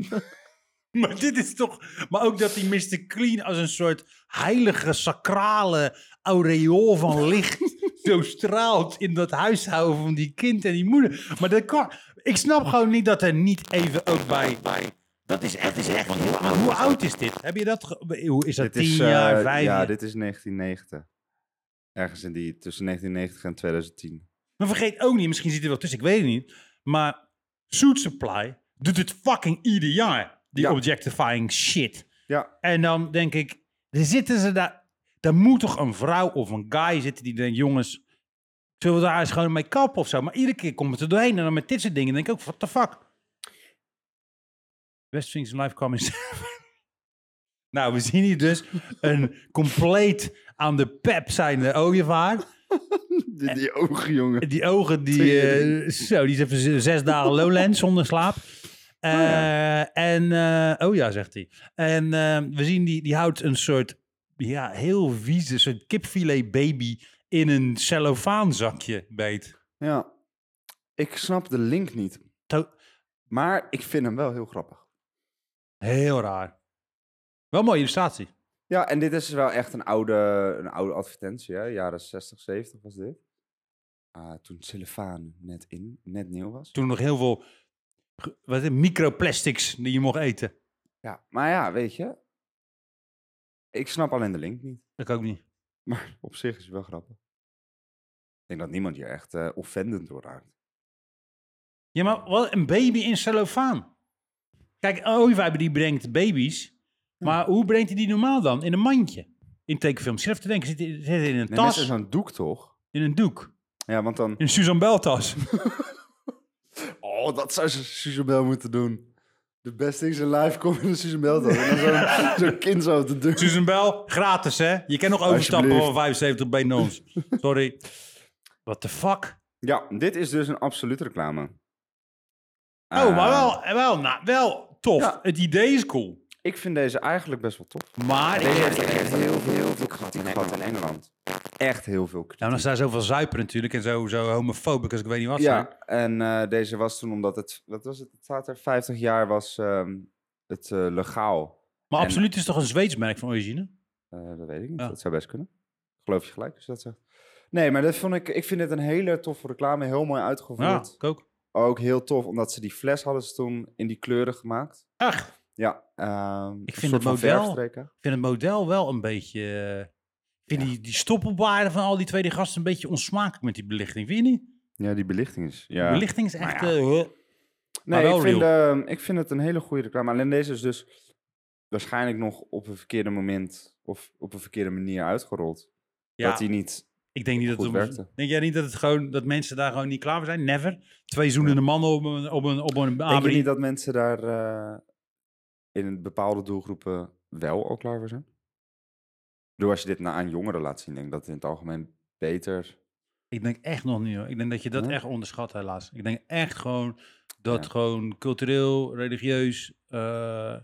[SPEAKER 1] Maar dit is toch... Maar ook dat die Mr. Clean als een soort heilige, sacrale aureool van licht zo straalt in dat huishouden van die kind en die moeder. Maar dat kan... Ik snap gewoon niet dat er niet even ook bij... Dat is echt... Dat is echt want hoe, maar hoe oud is dit? Heb je dat... ge- Hoe is dat?
[SPEAKER 2] Dit is,
[SPEAKER 1] Tien jaar?
[SPEAKER 2] eh,
[SPEAKER 1] Vijf
[SPEAKER 2] Ja,
[SPEAKER 1] jaar?
[SPEAKER 2] dit is 1990. Ergens in die, tussen 1990 en 2010.
[SPEAKER 1] Maar vergeet ook niet, misschien zit er wel tussen, ik weet het niet. Maar Suit Supply doet het fucking ieder jaar. Die
[SPEAKER 2] Ja.
[SPEAKER 1] objectifying shit.
[SPEAKER 2] Ja,
[SPEAKER 1] En dan denk ik, dan zitten ze daar. Daar moet toch een vrouw of een guy zitten die denkt, jongens, zullen we daar eens gewoon mee kappen of zo? Maar iedere keer komt het er doorheen en dan met dit soort dingen denk ik ook, what the fuck? Best things in life come in seven. Nou, we zien hier dus een compleet aan de pep zijnde oh ooievaar.
[SPEAKER 2] die, die ogen, jongen.
[SPEAKER 1] Die ogen, die, eh, zo, die is even z- zes dagen lowland zonder slaap. Eh, En, eh, oh ja, zegt hij. En eh, we zien, die, die houdt een soort, ja, heel vieze, soort kipfilet baby in een cellofaanzakje beet.
[SPEAKER 2] Ja. Ik snap de link niet.
[SPEAKER 1] To-
[SPEAKER 2] Maar ik vind hem wel heel grappig.
[SPEAKER 1] heel raar. Wel een mooie illustratie.
[SPEAKER 2] Ja, en dit is dus wel echt een oude, een oude advertentie, hè? Jaren 60, 70 was dit. Ah, toen Cellofaan net in, net nieuw was.
[SPEAKER 1] Toen nog heel veel ge- wat is het, microplastics die je mocht eten.
[SPEAKER 2] Ja, maar ja, weet je. Ik snap alleen de link niet.
[SPEAKER 1] Dat ook niet.
[SPEAKER 2] Maar op zich is het wel grappig. Ik denk dat niemand hier echt eh offendend door raakt.
[SPEAKER 1] Ja, maar wat een baby in cellofaan. Kijk, ooievaar die brengt baby's. Maar hoe brengt hij die normaal dan? In een mandje. In tekenfilms. Zelf te denken, zit, zit in een
[SPEAKER 2] Nee,
[SPEAKER 1] tas,
[SPEAKER 2] meestal is zo'n doek toch?
[SPEAKER 1] in een doek.
[SPEAKER 2] Ja, want dan...
[SPEAKER 1] In een Susan Bell tas.
[SPEAKER 2] Oh, dat zou ze Susan Bell moeten doen. The best things in life komen in Susan Bell. Dan. En dan zo'n zo'n kind zo op de deur.
[SPEAKER 1] Susan Bell, gratis hè? Je kan nog overstappen
[SPEAKER 2] Alsjeblieft.
[SPEAKER 1] van 75 bij ons. Sorry. What the fuck?
[SPEAKER 2] Ja, dit is dus een absolute reclame.
[SPEAKER 1] Oh, maar
[SPEAKER 2] Eh,
[SPEAKER 1] wel, wel, nou, wel tof.
[SPEAKER 2] Ja.
[SPEAKER 1] Het idee is cool.
[SPEAKER 2] Ik vind deze eigenlijk best wel tof.
[SPEAKER 1] Maar...
[SPEAKER 2] Deze heeft echt heel veel, heel veel kritiek gehad in Engeland. Echt heel veel kritiek.
[SPEAKER 1] Nou, dan zijn zoveel zuipen natuurlijk en zo, zo homofobisch als ik weet niet wat. zijn.
[SPEAKER 2] Ja, en eh, deze was toen omdat het, wat was het, het staat er, 50 jaar was ehm, het eh, legaal.
[SPEAKER 1] Maar
[SPEAKER 2] En-
[SPEAKER 1] absoluut is toch een Zweeds merk van origine?
[SPEAKER 2] Eh, dat weet ik niet,
[SPEAKER 1] Ja.
[SPEAKER 2] dat zou best kunnen. Geloof je gelijk als je dat zegt. Nee, maar dat vond ik, ik vind dit een hele toffe reclame, heel mooi
[SPEAKER 1] Ja,
[SPEAKER 2] uitgevoerd.
[SPEAKER 1] ik ook.
[SPEAKER 2] Ook heel tof, omdat ze die fles hadden ze toen in die kleuren gemaakt.
[SPEAKER 1] Echt?
[SPEAKER 2] Ja, ehm, een
[SPEAKER 1] vind
[SPEAKER 2] soort
[SPEAKER 1] het
[SPEAKER 2] van
[SPEAKER 1] model-
[SPEAKER 2] verfstreken.
[SPEAKER 1] Ik vind het model wel een beetje. eh, Ik vind die, die stoppelbaarden van al die tweede gasten een beetje onsmakelijk met die belichting. Vind je niet?
[SPEAKER 2] Ja, die belichting is. Ja.
[SPEAKER 1] De belichting is echt.
[SPEAKER 2] Maar
[SPEAKER 1] eh, huh.
[SPEAKER 2] nee,
[SPEAKER 1] wel
[SPEAKER 2] ik vind, ehm, ik vind het een hele goede reclame. Alleen deze is dus waarschijnlijk nog op een verkeerde moment of op een verkeerde manier uitgerold.
[SPEAKER 1] ja,
[SPEAKER 2] Dat hij niet.
[SPEAKER 1] ik denk niet dat
[SPEAKER 2] goed
[SPEAKER 1] het. om-
[SPEAKER 2] werkte.
[SPEAKER 1] Denk jij niet dat het gewoon dat mensen daar gewoon niet klaar voor zijn? Never. Twee zoenende mannen op een op een op een
[SPEAKER 2] Denk je
[SPEAKER 1] abri.
[SPEAKER 2] niet dat mensen daar eh, in een bepaalde doelgroepen wel al klaar voor zijn? Door als je dit na aan jongeren laat zien, denk ik dat het in het algemeen beter.
[SPEAKER 1] Ik denk echt nog niet. Hoor. Ik denk dat je dat
[SPEAKER 2] Nee?
[SPEAKER 1] echt onderschat helaas. Ik denk echt gewoon dat
[SPEAKER 2] Ja.
[SPEAKER 1] gewoon cultureel, religieus. eh,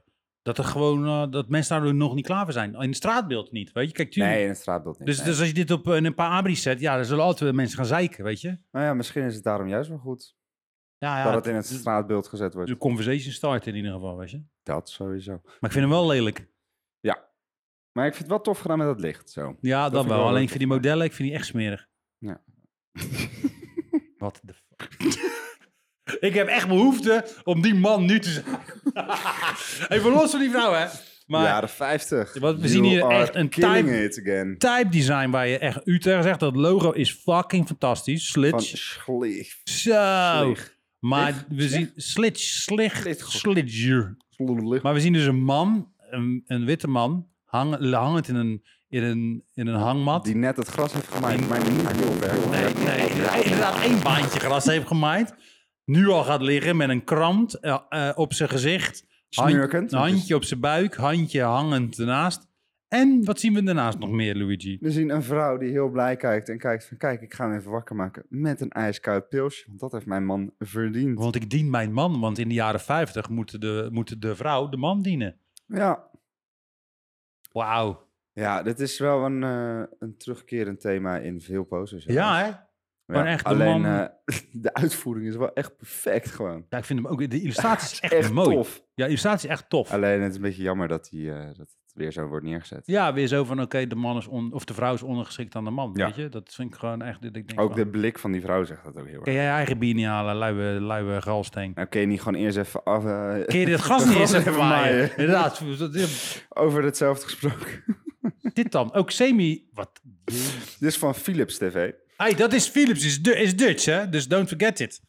[SPEAKER 1] dat er gewoon eh, dat mensen daar nog niet klaar voor zijn. In het straatbeeld niet. Weet je, kijk, tuurlijk.
[SPEAKER 2] Nee, in het straatbeeld niet.
[SPEAKER 1] Dus,
[SPEAKER 2] nee.
[SPEAKER 1] dus als je dit op een een paar abris zet, ja, dan zullen altijd wel mensen gaan zeiken, weet je?
[SPEAKER 2] Nou ja, misschien is het daarom juist wel goed.
[SPEAKER 1] Ja, ja,
[SPEAKER 2] dat het in het straatbeeld gezet wordt.
[SPEAKER 1] De conversation start in ieder geval, weet je.
[SPEAKER 2] Dat sowieso.
[SPEAKER 1] Maar ik vind hem wel lelijk.
[SPEAKER 2] Maar ik vind het wel tof gedaan met dat licht, zo.
[SPEAKER 1] Ja, dat,
[SPEAKER 2] vind ik
[SPEAKER 1] wel.
[SPEAKER 2] wel
[SPEAKER 1] Alleen
[SPEAKER 2] leuk.
[SPEAKER 1] ik vind die modellen, ik vind die echt smerig.
[SPEAKER 2] Ja.
[SPEAKER 1] Wat de fuck. ik heb echt behoefte om die man nu te zijn. Even los van die vrouw, hè. Maar
[SPEAKER 2] Jaren 50.
[SPEAKER 1] Wat, we
[SPEAKER 2] You
[SPEAKER 1] zien hier
[SPEAKER 2] are
[SPEAKER 1] echt een
[SPEAKER 2] killing
[SPEAKER 1] time-
[SPEAKER 2] it again.
[SPEAKER 1] type design waar je echt u tegen zegt, dat logo is fucking fantastisch.
[SPEAKER 2] Van
[SPEAKER 1] Slitch.
[SPEAKER 2] schleeg.
[SPEAKER 1] Zo.
[SPEAKER 2] Slig.
[SPEAKER 1] Maar
[SPEAKER 2] Slig?
[SPEAKER 1] we zien slitch, slig,
[SPEAKER 2] Slit, goed.
[SPEAKER 1] slidger. Maar we zien dus een man, een, een witte man, hang, hangend in een, in een, in een hangmat.
[SPEAKER 2] Die net het gras heeft gemaakt, maar niet heel erg.
[SPEAKER 1] Nee, nee, nee, inderdaad één baantje gras heeft gemaaid. Nu al gaat liggen met een krant eh, eh, op zijn gezicht. Hand-
[SPEAKER 2] Snurkend,
[SPEAKER 1] Een
[SPEAKER 2] want het is-
[SPEAKER 1] handje op zijn buik, handje hangend ernaast. En wat zien we daarnaast nog meer, Luigi?
[SPEAKER 2] We zien een vrouw die heel blij kijkt en kijkt van... Kijk, ik ga hem even wakker maken met een ijskoud pilsje. Want dat heeft mijn man verdiend.
[SPEAKER 1] Want ik dien mijn man, want in de jaren 50 moet de, moet de vrouw de man dienen.
[SPEAKER 2] Ja,
[SPEAKER 1] Wauw.
[SPEAKER 2] ja dit is wel een, eh, een terugkerend thema in veel poses.
[SPEAKER 1] Ja, hè? gewoon echt de
[SPEAKER 2] Alleen
[SPEAKER 1] man-
[SPEAKER 2] eh, de uitvoering is wel echt perfect gewoon.
[SPEAKER 1] Ja, ik vind hem ook. De illustratie is echt,
[SPEAKER 2] Echt
[SPEAKER 1] mooi.
[SPEAKER 2] tof.
[SPEAKER 1] Ja, de illustratie is echt tof.
[SPEAKER 2] Alleen het is een beetje jammer dat, die, eh, dat het weer zo wordt neergezet.
[SPEAKER 1] Ja, weer zo van: oké, de man is on, of de vrouw is ondergeschikt aan de man.
[SPEAKER 2] Ja.
[SPEAKER 1] Weet je, dat vind ik gewoon echt. dat Ik denk
[SPEAKER 2] Ook
[SPEAKER 1] van,
[SPEAKER 2] de blik van die vrouw zegt dat ook heel
[SPEAKER 1] Kan
[SPEAKER 2] erg.
[SPEAKER 1] jij je eigen bier niet halen, luie, luie eh, galsteen?
[SPEAKER 2] Nou, kun je niet gewoon eerst even af... eh,
[SPEAKER 1] Kun je dit gas
[SPEAKER 2] De
[SPEAKER 1] niet
[SPEAKER 2] gras
[SPEAKER 1] eens even
[SPEAKER 2] even
[SPEAKER 1] maaien?
[SPEAKER 2] maaien.
[SPEAKER 1] Inderdaad. dat is-
[SPEAKER 2] over hetzelfde gesproken?
[SPEAKER 1] Dit dan. Ook semi... Wat?
[SPEAKER 2] Dit is van Philips TV.
[SPEAKER 1] Hey, dat is Philips. Is, Du- is Dutch, hè? Dus don't forget it.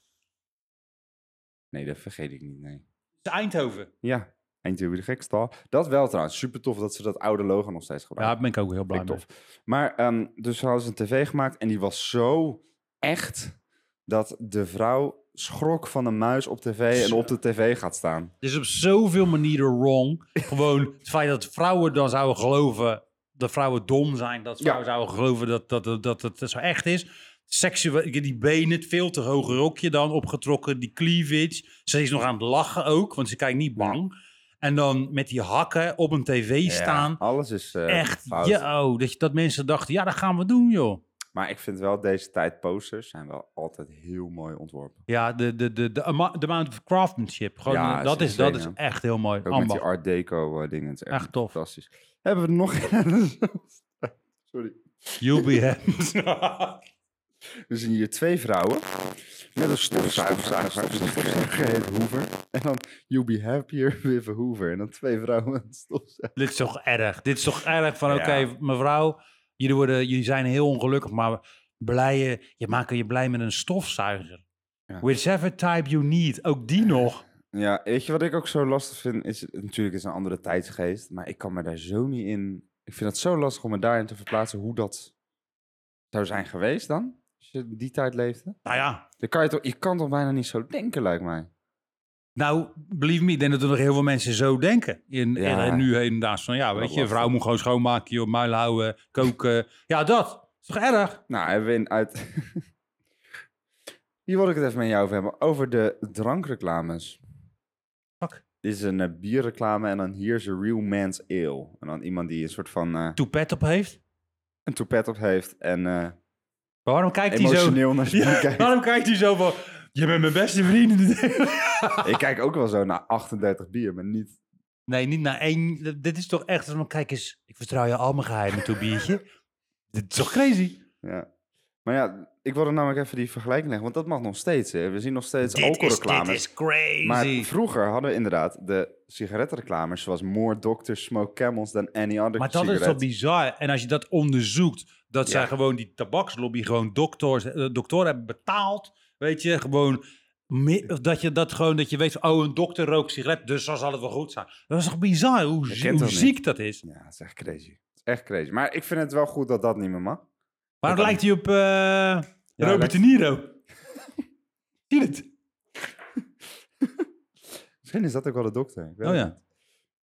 [SPEAKER 2] Nee, dat vergeet ik niet, nee.
[SPEAKER 1] Het is Eindhoven.
[SPEAKER 2] Ja, Eindhoven de gekstal. Dat wel trouwens. Super tof dat ze dat oude logo nog steeds
[SPEAKER 1] Ja, daar
[SPEAKER 2] gebruiken.
[SPEAKER 1] ben ik ook heel blij
[SPEAKER 2] Vind ik
[SPEAKER 1] mee.
[SPEAKER 2] tof. Maar ehm, dus hadden ze een tv gemaakt en die was zo echt dat de vrouw schrok van een muis op tv en
[SPEAKER 1] Zo.
[SPEAKER 2] op de tv gaat staan.
[SPEAKER 1] Het is op zoveel manieren wrong. Gewoon het feit dat vrouwen dan zouden geloven... dat vrouwen dom zijn. Dat vrouwen zouden geloven dat, dat, dat, dat het zo echt is. Seksueel, die benen, het veel te hoge rokje dan opgetrokken. Die cleavage. Ze is nog aan het lachen ook, want ze kijkt niet bang. En dan met die hakken op een tv staan.
[SPEAKER 2] Ja, alles is eh,
[SPEAKER 1] Echt,
[SPEAKER 2] fout.
[SPEAKER 1] ja, oh, dat, je- dat mensen dachten, ja, dat gaan we doen, joh.
[SPEAKER 2] Maar ik vind wel deze tijd posters zijn wel altijd heel mooi ontworpen.
[SPEAKER 1] Ja, de, de, de, de, ama- de amount of craftsmanship, gewoon,
[SPEAKER 2] Ja,
[SPEAKER 1] dat,
[SPEAKER 2] is
[SPEAKER 1] is, dat is
[SPEAKER 2] insane,
[SPEAKER 1] echt heel mooi.
[SPEAKER 2] Ook met die
[SPEAKER 1] Ambacht.
[SPEAKER 2] art deco eh, dingen. Het is echt,
[SPEAKER 1] Echt tof.
[SPEAKER 2] fantastisch. Hebben we er nog Sorry.
[SPEAKER 1] You'll be happy.
[SPEAKER 2] We zien hier twee vrouwen met een stofzuiger, geheet Hoover. En dan You'll Be Happier with a Hoover. En dan twee vrouwen met een stofzuiger.
[SPEAKER 1] Dit is toch erg. Dit is toch erg van,
[SPEAKER 2] Ja.
[SPEAKER 1] oké, mevrouw, jullie, worden, jullie zijn heel ongelukkig, maar blij, je- je maakt je blij met een stofzuiger.
[SPEAKER 2] Ja.
[SPEAKER 1] Whichever type you need, ook die nog.
[SPEAKER 2] Ja, weet je wat ik ook zo lastig vind? Is, natuurlijk is het een andere tijdsgeest, maar ik kan me daar zo niet in... Ik vind het zo lastig om me daarin te verplaatsen hoe dat zou zijn geweest dan. Als je in die tijd leefde.
[SPEAKER 1] Nou ja,
[SPEAKER 2] Dan kan je, toch, je kan toch bijna niet zo denken, lijkt mij.
[SPEAKER 1] nou, believe me, ik denk dat er nog heel veel mensen zo denken. In,
[SPEAKER 2] Ja.
[SPEAKER 1] in, in nu hedendaags van, ja, weet je,
[SPEAKER 2] lastig.
[SPEAKER 1] vrouw moet gewoon schoonmaken, joh, muil houden, koken. ja, dat. Is toch erg?
[SPEAKER 2] Nou, hebben we in uit... Hier wil ik het even met jou over hebben. Over de drankreclames.
[SPEAKER 1] Fuck.
[SPEAKER 2] Dit is een eh, bierreclame en dan here's a real man's ale. En dan iemand die een soort van eh,
[SPEAKER 1] toepet op heeft.
[SPEAKER 2] een toepet op heeft en eh,
[SPEAKER 1] Maar waarom kijkt hij zo?
[SPEAKER 2] emotioneel naar zijn bier
[SPEAKER 1] Ja,
[SPEAKER 2] kijkt.
[SPEAKER 1] waarom kijkt hij zo van? Je bent mijn beste vriend.
[SPEAKER 2] Ik kijk ook wel zo naar 38 bier, maar niet...
[SPEAKER 1] nee, niet naar één. Dit is toch echt. van, Kijk eens, ik vertrouw je al mijn geheimen toe, biertje. Dit is toch crazy?
[SPEAKER 2] Ja. Maar ja, ik wilde namelijk even die vergelijking leggen, want dat mag nog steeds. Hè. We zien nog steeds
[SPEAKER 1] Dit is, dit
[SPEAKER 2] alcoholreclames.
[SPEAKER 1] is crazy.
[SPEAKER 2] Maar vroeger hadden we inderdaad de sigarettenreclames zoals More Doctors Smoke Camels than any other
[SPEAKER 1] Maar dat
[SPEAKER 2] cigarette.
[SPEAKER 1] is toch bizar? En als je dat onderzoekt, dat
[SPEAKER 2] Ja.
[SPEAKER 1] zij gewoon die tabakslobby gewoon dokters, eh, doktoren hebben betaald. Weet je, gewoon me- dat je dat gewoon, dat je weet, van, oh, een dokter rookt sigaret, dus dan zal het wel goed zijn. Dat is toch bizar hoe,
[SPEAKER 2] Ik
[SPEAKER 1] zie-
[SPEAKER 2] ken
[SPEAKER 1] hoe
[SPEAKER 2] dat niet.
[SPEAKER 1] ziek dat is?
[SPEAKER 2] Ja, het is echt crazy. Het is echt crazy. Maar ik vind het wel goed dat dat niet meer mag.
[SPEAKER 1] Maar
[SPEAKER 2] Dat
[SPEAKER 1] dan lijkt hij op eh, Robert
[SPEAKER 2] lijkt-
[SPEAKER 1] De Niro. Zie je het?
[SPEAKER 2] Misschien is dat ook wel de dokter. Ik weet
[SPEAKER 1] Oh
[SPEAKER 2] het
[SPEAKER 1] ja.
[SPEAKER 2] niet.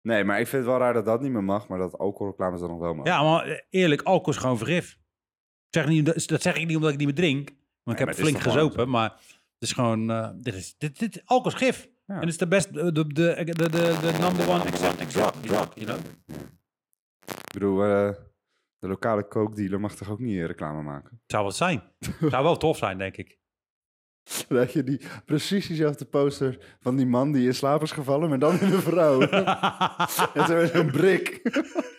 [SPEAKER 2] Nee, maar ik vind het wel raar dat dat niet meer mag, maar dat alcoholreclames dan nog wel mogen.
[SPEAKER 1] Ja, maar eh, eerlijk, alcohol is gewoon vergif. Ik Zeg niet, dat dat zeg ik niet omdat ik niet meer drink. Want
[SPEAKER 2] Nee,
[SPEAKER 1] ik
[SPEAKER 2] maar
[SPEAKER 1] heb
[SPEAKER 2] het is
[SPEAKER 1] flink
[SPEAKER 2] toch gewoon
[SPEAKER 1] gezopen. Maar het is gewoon... eh, dit is, dit, dit, alcohol is gif.
[SPEAKER 2] Ja.
[SPEAKER 1] En het is de best... eh, De, de, de, de, de number one accepting drug. drug, you know?
[SPEAKER 2] Ik bedoel, eh, de lokale coke dealer mag toch ook niet eh, reclame maken?
[SPEAKER 1] Zou wat zijn. Zou wel tof zijn, denk ik.
[SPEAKER 2] Dat je die, precies diezelfde poster van die man die in slaap is gevallen, maar dan in een vrouw. en zo met een brik.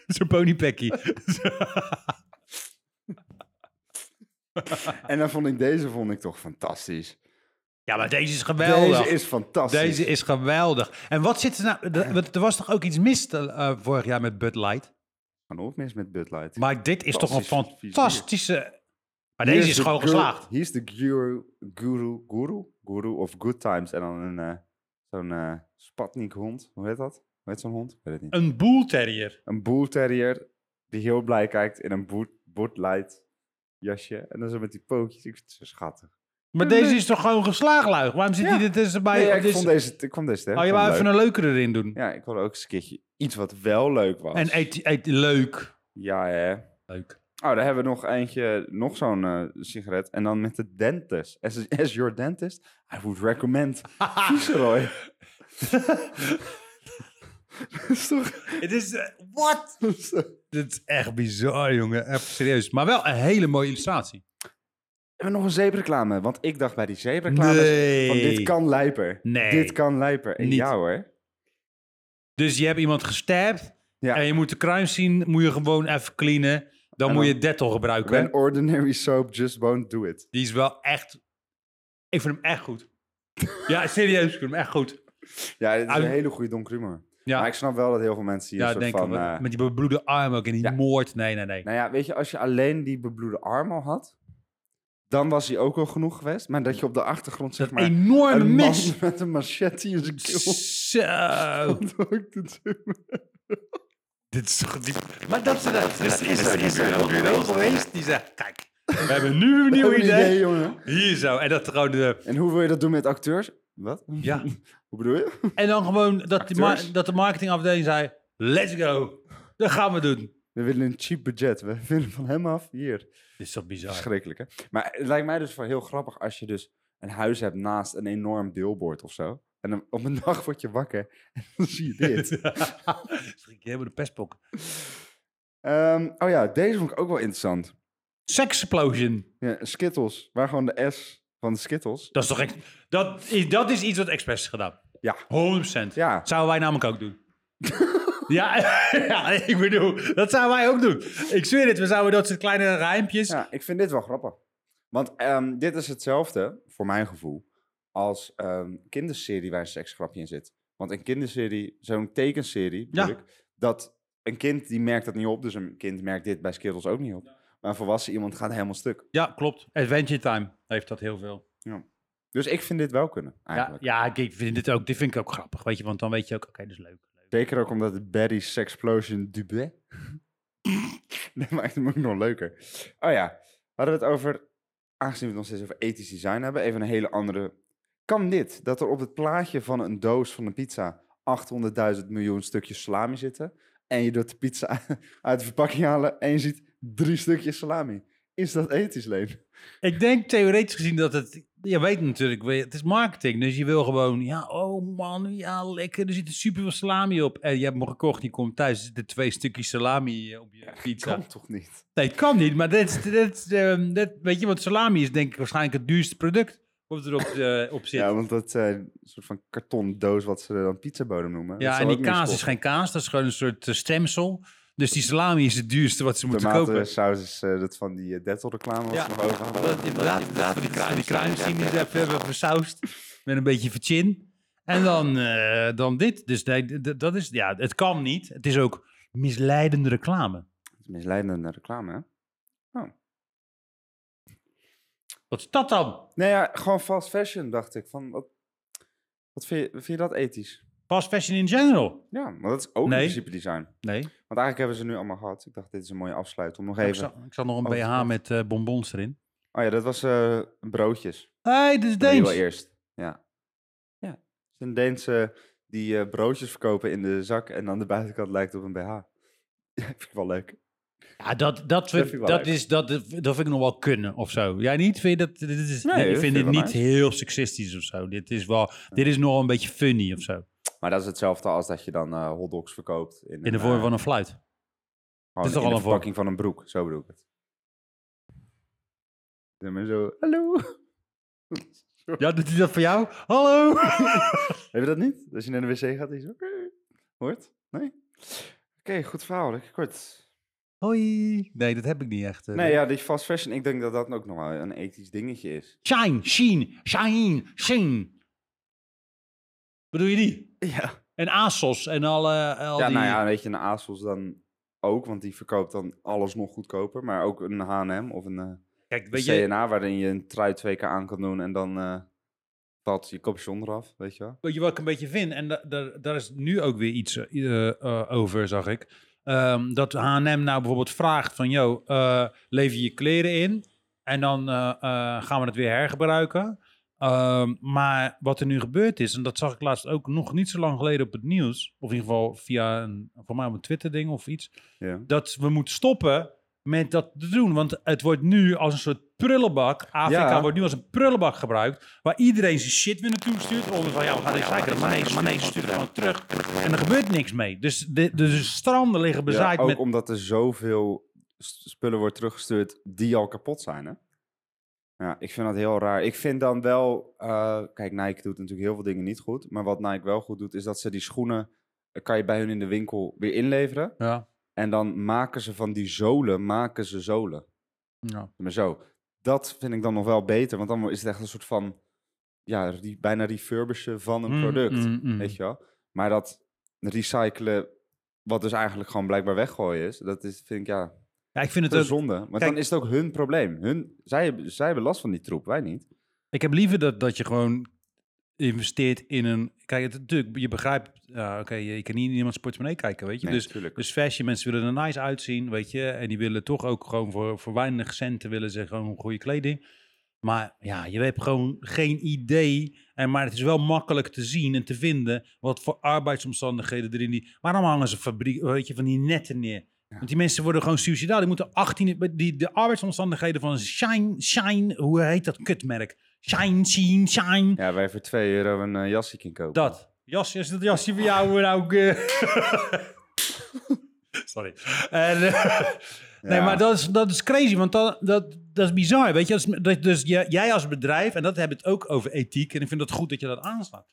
[SPEAKER 1] Zo'n ponypackie.
[SPEAKER 2] En dan vond ik deze vond ik toch fantastisch.
[SPEAKER 1] Ja, maar deze is geweldig.
[SPEAKER 2] Deze is fantastisch.
[SPEAKER 1] Deze is geweldig. En wat zit er nou... d- want Er was toch ook iets mis eh, vorig jaar met Bud Light?
[SPEAKER 2] Kan ook mis met Bud Light.
[SPEAKER 1] Maar dit is toch een
[SPEAKER 2] Fantastisch vizier.
[SPEAKER 1] fantastische... Maar deze is gewoon geslaagd.
[SPEAKER 2] Hier is de guru, guru, guru, guru of good times. En dan een, eh, zo'n eh spatnik hond. Hoe heet dat? Hoe heet zo'n hond? Ik Weet het niet.
[SPEAKER 1] Een boelterrier.
[SPEAKER 2] Een bull terrier die heel blij kijkt in een boot, Bud Light jasje. En dan zo met die pootjes. Ik vind het zo schattig.
[SPEAKER 1] Maar
[SPEAKER 2] Nee,
[SPEAKER 1] deze
[SPEAKER 2] nee.
[SPEAKER 1] is toch gewoon geslaagluig? Waarom zit
[SPEAKER 2] Ja.
[SPEAKER 1] hij er tussen bij?
[SPEAKER 2] Nee, ja,
[SPEAKER 1] op
[SPEAKER 2] ik,
[SPEAKER 1] dit-
[SPEAKER 2] vond deze, ik vond deze
[SPEAKER 1] oh, je wou even
[SPEAKER 2] leuk.
[SPEAKER 1] een leukere erin doen.
[SPEAKER 2] Ja, ik wilde ook eens een keertje iets wat wel leuk was.
[SPEAKER 1] En eet, eet leuk.
[SPEAKER 2] Ja, hè.
[SPEAKER 1] Leuk.
[SPEAKER 2] Oh, daar hebben we nog eentje, nog zo'n eh, sigaret. En dan met de dentist. As, as your dentist, I would recommend Viceroy. Dat is toch...
[SPEAKER 1] Het is... Wat? Dit is echt bizar, jongen. Echt serieus. Maar wel een hele mooie illustratie.
[SPEAKER 2] Hebben we nog een zeepreclame? Want ik dacht bij die zeepreclames, van dit kan lijper.
[SPEAKER 1] Nee.
[SPEAKER 2] Dit kan lijper. En
[SPEAKER 1] Niet.
[SPEAKER 2] ja hoor.
[SPEAKER 1] Dus je hebt iemand gestapt.
[SPEAKER 2] Ja.
[SPEAKER 1] En je moet de crime scene moet je gewoon even cleanen. Dan, moet
[SPEAKER 2] dan-
[SPEAKER 1] je Dettol gebruiken.
[SPEAKER 2] When ordinary soap just won't do it.
[SPEAKER 1] Die is wel echt... Ik vind hem echt goed. ja, serieus. Ik vind hem echt goed.
[SPEAKER 2] Ja, dit is
[SPEAKER 1] Ah,
[SPEAKER 2] een hele goede donkere humor.
[SPEAKER 1] Ja.
[SPEAKER 2] Maar ik snap wel dat heel veel mensen hier
[SPEAKER 1] Ja,
[SPEAKER 2] een soort
[SPEAKER 1] denk
[SPEAKER 2] van...
[SPEAKER 1] ik.
[SPEAKER 2] eh,
[SPEAKER 1] Met die bebloede arm ook en die
[SPEAKER 2] Ja.
[SPEAKER 1] moord. Nee, nee, nee.
[SPEAKER 2] Nou ja, weet je, als je alleen die bebloede arm al had, dan was hij ook al genoeg geweest. Maar dat je op de achtergrond zeg
[SPEAKER 1] dat
[SPEAKER 2] maar
[SPEAKER 1] enorme
[SPEAKER 2] een man
[SPEAKER 1] mes.
[SPEAKER 2] met een machete in zijn keel
[SPEAKER 1] Zo.
[SPEAKER 2] stond ook te doen.
[SPEAKER 1] Dit is toch diep. Maar dat ze dat. Dus is er is er wel geweest. Die zegt, kijk, we hebben nu een nieuw
[SPEAKER 2] Een
[SPEAKER 1] idee.
[SPEAKER 2] jongen.
[SPEAKER 1] Hier zo. En dat gewoon de...
[SPEAKER 2] En hoe wil je dat doen met acteurs? Wat?
[SPEAKER 1] Ja.
[SPEAKER 2] Hoe bedoel je?
[SPEAKER 1] En dan gewoon dat, die ma-
[SPEAKER 2] Acteurs.
[SPEAKER 1] dat de marketingafdeling zei, let's go. Dat gaan we doen.
[SPEAKER 2] We willen een cheap budget. We willen van hem af. Hier.
[SPEAKER 1] Dit is toch bizar.
[SPEAKER 2] Verschrikkelijk, hè? Maar het lijkt mij dus wel heel grappig als je dus een huis hebt naast een enorm billboard of zo. En dan op een dag word je wakker en dan zie je dit.
[SPEAKER 1] Schrik je helemaal de pestbok.
[SPEAKER 2] Ehm, oh ja, deze vond ik ook wel interessant.
[SPEAKER 1] Sexplosion.
[SPEAKER 2] Ja, Skittles. Waar gewoon de S van de Skittles.
[SPEAKER 1] Dat is toch echt... Dat is, dat is iets wat Express is gedaan.
[SPEAKER 2] Ja.
[SPEAKER 1] 100%.
[SPEAKER 2] Ja.
[SPEAKER 1] Zouden wij namelijk ook doen. ja, ja, ik bedoel, dat zouden wij ook doen. Ik zweer het, we zouden dat soort kleine rijmpjes...
[SPEAKER 2] ja, ik vind dit wel grappig. Want ehm, dit is hetzelfde, voor mijn gevoel, als ehm kinderserie waar een seksgrapje in zit. Want een kinderserie, zo'n tekenserie, bedoel
[SPEAKER 1] Ja.
[SPEAKER 2] ik, dat een kind die merkt dat niet op. Dus een kind merkt dit bij Skittles ook niet op. Maar een volwassen iemand gaat helemaal stuk.
[SPEAKER 1] Ja, klopt. Adventure Time heeft dat heel veel.
[SPEAKER 2] Dus ik vind dit wel kunnen,
[SPEAKER 1] Ja,
[SPEAKER 2] eigenlijk.
[SPEAKER 1] ja, ik- ik vind dit ook, dit vind ik ook grappig, weet je. Want dan weet je ook, oké, dit is leuk. leuk.
[SPEAKER 2] Zeker ook omdat het Barry Sexplosion Dubé. dat maakt hem ook nog leuker. Oh ja, hadden we het over, aangezien we het nog steeds over ethisch design hebben, even een hele andere. Kan dit, dat er op het plaatje van een doos van een pizza 800.000 miljoen stukjes salami zitten en je doet de pizza uit de verpakking halen en je ziet drie stukjes salami? Is dat ethisch, Leen?
[SPEAKER 1] Ik denk theoretisch gezien dat het... Je weet natuurlijk, we- het is marketing. Dus je wil gewoon, ja, oh man, ja, lekker. Er zit super veel salami op. En je hebt hem gekocht, je komt thuis, er zitten twee stukjes salami eh, op je pizza.
[SPEAKER 2] Kan toch niet?
[SPEAKER 1] Nee, het kan niet. Maar dit, is- dit, is, ehm, dit, weet je, want salami is denk ik waarschijnlijk het duurste product. Wat erop eh, op zit.
[SPEAKER 2] Ja,
[SPEAKER 1] Ja,
[SPEAKER 2] want dat eh, soort van karton doos wat ze dan pizzabodem noemen. dat
[SPEAKER 1] en
[SPEAKER 2] zal
[SPEAKER 1] die
[SPEAKER 2] ook meer
[SPEAKER 1] kaas is
[SPEAKER 2] kosten.
[SPEAKER 1] geen kaas. Dat is gewoon een soort eh, stemsel. Dus die salami is het duurste wat ze moeten kopen.
[SPEAKER 2] Tomatensaus is eh, dat van die Dettel reclame was
[SPEAKER 1] Ja.
[SPEAKER 2] er nog over hadden.
[SPEAKER 1] Dat, inderdaad, inderdaad, die kruim, die kruimsteen die ze even hebben versausd met een beetje verchin. En dan, eh, dan dit. Dus nee, d- d- dat is, ja, het kan niet. Het is ook misleidende reclame.
[SPEAKER 2] Het is Misleidende reclame, hè?
[SPEAKER 1] Wat is dat dan?
[SPEAKER 2] Nee, ja, gewoon fast fashion, dacht ik. Van, wat, wat vind, je, vind je dat ethisch?
[SPEAKER 1] Fast fashion in general?
[SPEAKER 2] Ja, maar dat is ook
[SPEAKER 1] Nee.
[SPEAKER 2] in principe design.
[SPEAKER 1] Nee.
[SPEAKER 2] Want eigenlijk hebben we ze nu allemaal gehad. Ik dacht, dit is een mooie afsluit om nog
[SPEAKER 1] Ik
[SPEAKER 2] even...
[SPEAKER 1] zag, ik zag nog een
[SPEAKER 2] Oh,
[SPEAKER 1] BH
[SPEAKER 2] goed.
[SPEAKER 1] met eh, bonbons erin.
[SPEAKER 2] Oh ja, dat was eh, broodjes.
[SPEAKER 1] Hé, hey, dit is
[SPEAKER 2] Die
[SPEAKER 1] Deens.
[SPEAKER 2] wel eerst. Ja. Ja. Het is een Deense die eh, broodjes verkopen in de zak en aan de buitenkant lijkt op een BH. Ja, vind ik wel leuk.
[SPEAKER 1] Ja, dat, dat,
[SPEAKER 2] vind ik
[SPEAKER 1] vind,
[SPEAKER 2] wel
[SPEAKER 1] dat,
[SPEAKER 2] leuk.
[SPEAKER 1] is, dat, dat vind ik nog wel kunnen of zo. Jij niet? Vind je dat, dit is,
[SPEAKER 2] Nee,
[SPEAKER 1] ik
[SPEAKER 2] dat
[SPEAKER 1] vind
[SPEAKER 2] vind ik
[SPEAKER 1] dit
[SPEAKER 2] wel
[SPEAKER 1] niet
[SPEAKER 2] nice.
[SPEAKER 1] heel seksistisch of zo. Dit is, wel, dit is nog een beetje funny of zo.
[SPEAKER 2] Maar dat is hetzelfde als dat je dan eh hotdogs verkoopt. In, eh,
[SPEAKER 1] In de vorm van een fluit.
[SPEAKER 2] Gewoon
[SPEAKER 1] is toch
[SPEAKER 2] in
[SPEAKER 1] al
[SPEAKER 2] de
[SPEAKER 1] een vorm?
[SPEAKER 2] verpakking van een broek, zo bedoel ik het. Ja, maar zo, hallo.
[SPEAKER 1] Ja, doet hij dat voor jou? Hallo!
[SPEAKER 2] Heb je dat niet? Als je naar de wc gaat, die zo... eh, Hoort? Nee? Oké, goed verhaal, Rick. Kort.
[SPEAKER 1] Hoi! Nee, dat heb ik niet echt. eh.
[SPEAKER 2] Nee, ja, die fast fashion, ik denk dat dat ook nog wel een ethisch dingetje is.
[SPEAKER 1] Shine, sheen, shine, sheen. Bedoel je die?
[SPEAKER 2] Ja.
[SPEAKER 1] En ASOS en alle... Al
[SPEAKER 2] Ja,
[SPEAKER 1] die...
[SPEAKER 2] nou ja, weet je, een ASOS dan ook, want die verkoopt dan alles nog goedkoper. Maar ook een H&M of een eh,
[SPEAKER 1] Kijk, weet je,
[SPEAKER 2] CNA, waarin je een trui twee keer aan kan doen en dan eh valt je capuchon eraf, weet je wel.
[SPEAKER 1] Weet je wat ik een beetje vind? En da- daar- daar is nu ook weer iets eh, eh, eh, over, zag ik. Ehm, dat H&M nou bijvoorbeeld vraagt van... Yo, eh, lever je kleren in en dan eh, eh, gaan we het weer hergebruiken. Ehm, maar wat er nu gebeurd is... en dat zag ik laatst ook nog niet zo lang geleden op het nieuws... of in ieder geval via een, voor mij op een Twitter-ding of iets...
[SPEAKER 2] Ja.
[SPEAKER 1] dat we moeten stoppen met dat te doen. Want het wordt nu als een soort prullenbak. Afrika
[SPEAKER 2] Ja.
[SPEAKER 1] wordt nu als een prullenbak gebruikt. Waar iedereen zijn shit weer naartoe stuurt. Onder van ja, we gaan recyclen. Maar nee, maar nee, ze sturen gewoon terug. En er gebeurt niks mee. Dus de, de, de stranden liggen
[SPEAKER 2] Ja,
[SPEAKER 1] bezaaid
[SPEAKER 2] ook
[SPEAKER 1] met.
[SPEAKER 2] omdat er zoveel s- spullen wordt teruggestuurd die al kapot zijn, hè? Ja, ik vind dat heel raar. Ik vind dan wel... eh, kijk, Nike doet natuurlijk heel veel dingen niet goed. Maar wat Nike wel goed doet, is dat ze die schoenen... eh, kan je bij hun in de winkel weer inleveren.
[SPEAKER 1] Ja.
[SPEAKER 2] En dan maken ze van die zolen, maken ze zolen.
[SPEAKER 1] ja.
[SPEAKER 2] Maar zo, dat vind ik dan nog wel beter. Want dan is het echt een soort van... Ja, die, bijna refurbishen van een product.
[SPEAKER 1] Mm, mm, mm.
[SPEAKER 2] Weet je wel? Maar dat recyclen, wat dus eigenlijk gewoon blijkbaar weggooien is, dat is, vind ik ja,
[SPEAKER 1] Ja, ik vind het
[SPEAKER 2] een
[SPEAKER 1] ook.
[SPEAKER 2] zonde. Want
[SPEAKER 1] Kijk-
[SPEAKER 2] dan is het ook hun probleem. Hun, zij, hebben- zij hebben last van die troep, wij niet.
[SPEAKER 1] Ik heb liever dat, dat je gewoon investeert in een. Kijk, het, natuurlijk, je begrijpt. ja, Oké, je, je kan niet in iemands portemonnee kijken, weet je. dus
[SPEAKER 2] natuurlijk.
[SPEAKER 1] Dus fashion, mensen willen er nice uitzien, weet je. En die willen toch ook gewoon voor, voor weinig centen willen ze gewoon goede kleding. Maar ja, je hebt gewoon geen idee. En, maar het is wel makkelijk te zien en te vinden wat voor arbeidsomstandigheden erin die. Waarom hangen ze fabriek, weet je, van die netten neer? Want die mensen worden gewoon suicidaal. Die moeten 18. Die, de arbeidsomstandigheden van Shine, Shine, hoe heet dat kutmerk? Shine, Shine, Shine.
[SPEAKER 2] ja, wij voor 2 euro een eh, jasje kunnen kopen.
[SPEAKER 1] Dat. Jasje, is dat jasje voor jou nou ook... eh? Sorry. En, eh, Nee,
[SPEAKER 2] Ja.
[SPEAKER 1] maar dat is, dat is crazy, want dat, dat, dat is bizar. Weet je, Als- dat, dus jij- jij als bedrijf, en dat hebben we het ook over ethiek, en ik vind het goed dat je dat aanslaat.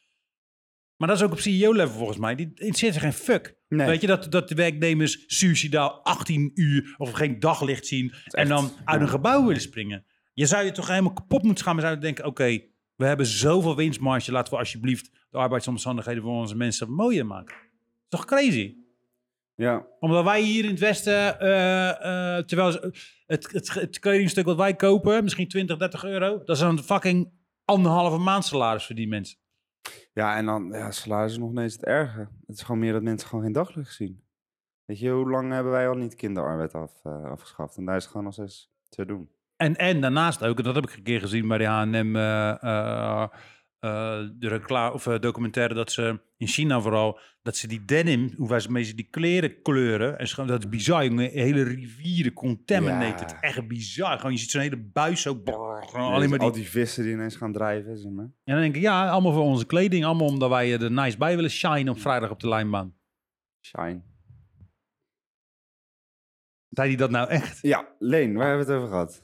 [SPEAKER 1] Maar dat is ook op CEO-level volgens mij. Die interesseert zich geen fuck.
[SPEAKER 2] Nee.
[SPEAKER 1] Weet je, dat, dat de werknemers suicidaal 18 uur of geen daglicht zien en dan
[SPEAKER 2] echt,
[SPEAKER 1] uit
[SPEAKER 2] ja.
[SPEAKER 1] een gebouw willen springen. Je zou je toch helemaal kapot moeten schamen. Zou je denken, oké, we hebben zoveel winstmarge. Laten we alsjeblieft de arbeidsomstandigheden voor onze mensen mooier maken. Toch crazy?
[SPEAKER 2] Ja,
[SPEAKER 1] Omdat wij hier in het Westen, eh, eh, terwijl ze- het, het, het kledingstuk wat wij kopen, misschien 20, 30 euro, dat is een fucking anderhalve maand salaris voor die mensen.
[SPEAKER 2] ja en dan, ja, salaris is nog ineens het erge. Het is gewoon meer dat mensen gewoon geen daglicht zien. Weet je, hoe lang hebben wij al niet kinderarbeid af, eh, afgeschaft? En daar is het gewoon nog steeds te doen.
[SPEAKER 1] En, en daarnaast ook, en dat heb ik een keer gezien bij de H&M, eh, eh, eh, de reclame, of eh, documentaire, dat ze in China vooral, dat ze die denim, hoe wij ze mee ze die kleren kleuren, en ze gaan- dat is bizar, jongen, hele rivieren contaminated,
[SPEAKER 2] Ja.
[SPEAKER 1] echt bizar. Gewoon, je ziet zo'n hele buis zo, brrr, gewoon alleen
[SPEAKER 2] Dus
[SPEAKER 1] maar die
[SPEAKER 2] Al die vissen die ineens gaan drijven, zeg maar.
[SPEAKER 1] En dan denk ik, ja, allemaal voor onze kleding. Allemaal omdat wij eh, er nice bij willen shine op vrijdag op de lijnbaan.
[SPEAKER 2] Shine.
[SPEAKER 1] Zei hij dat nou echt?
[SPEAKER 2] Ja, Leen, waar hebben we het over gehad?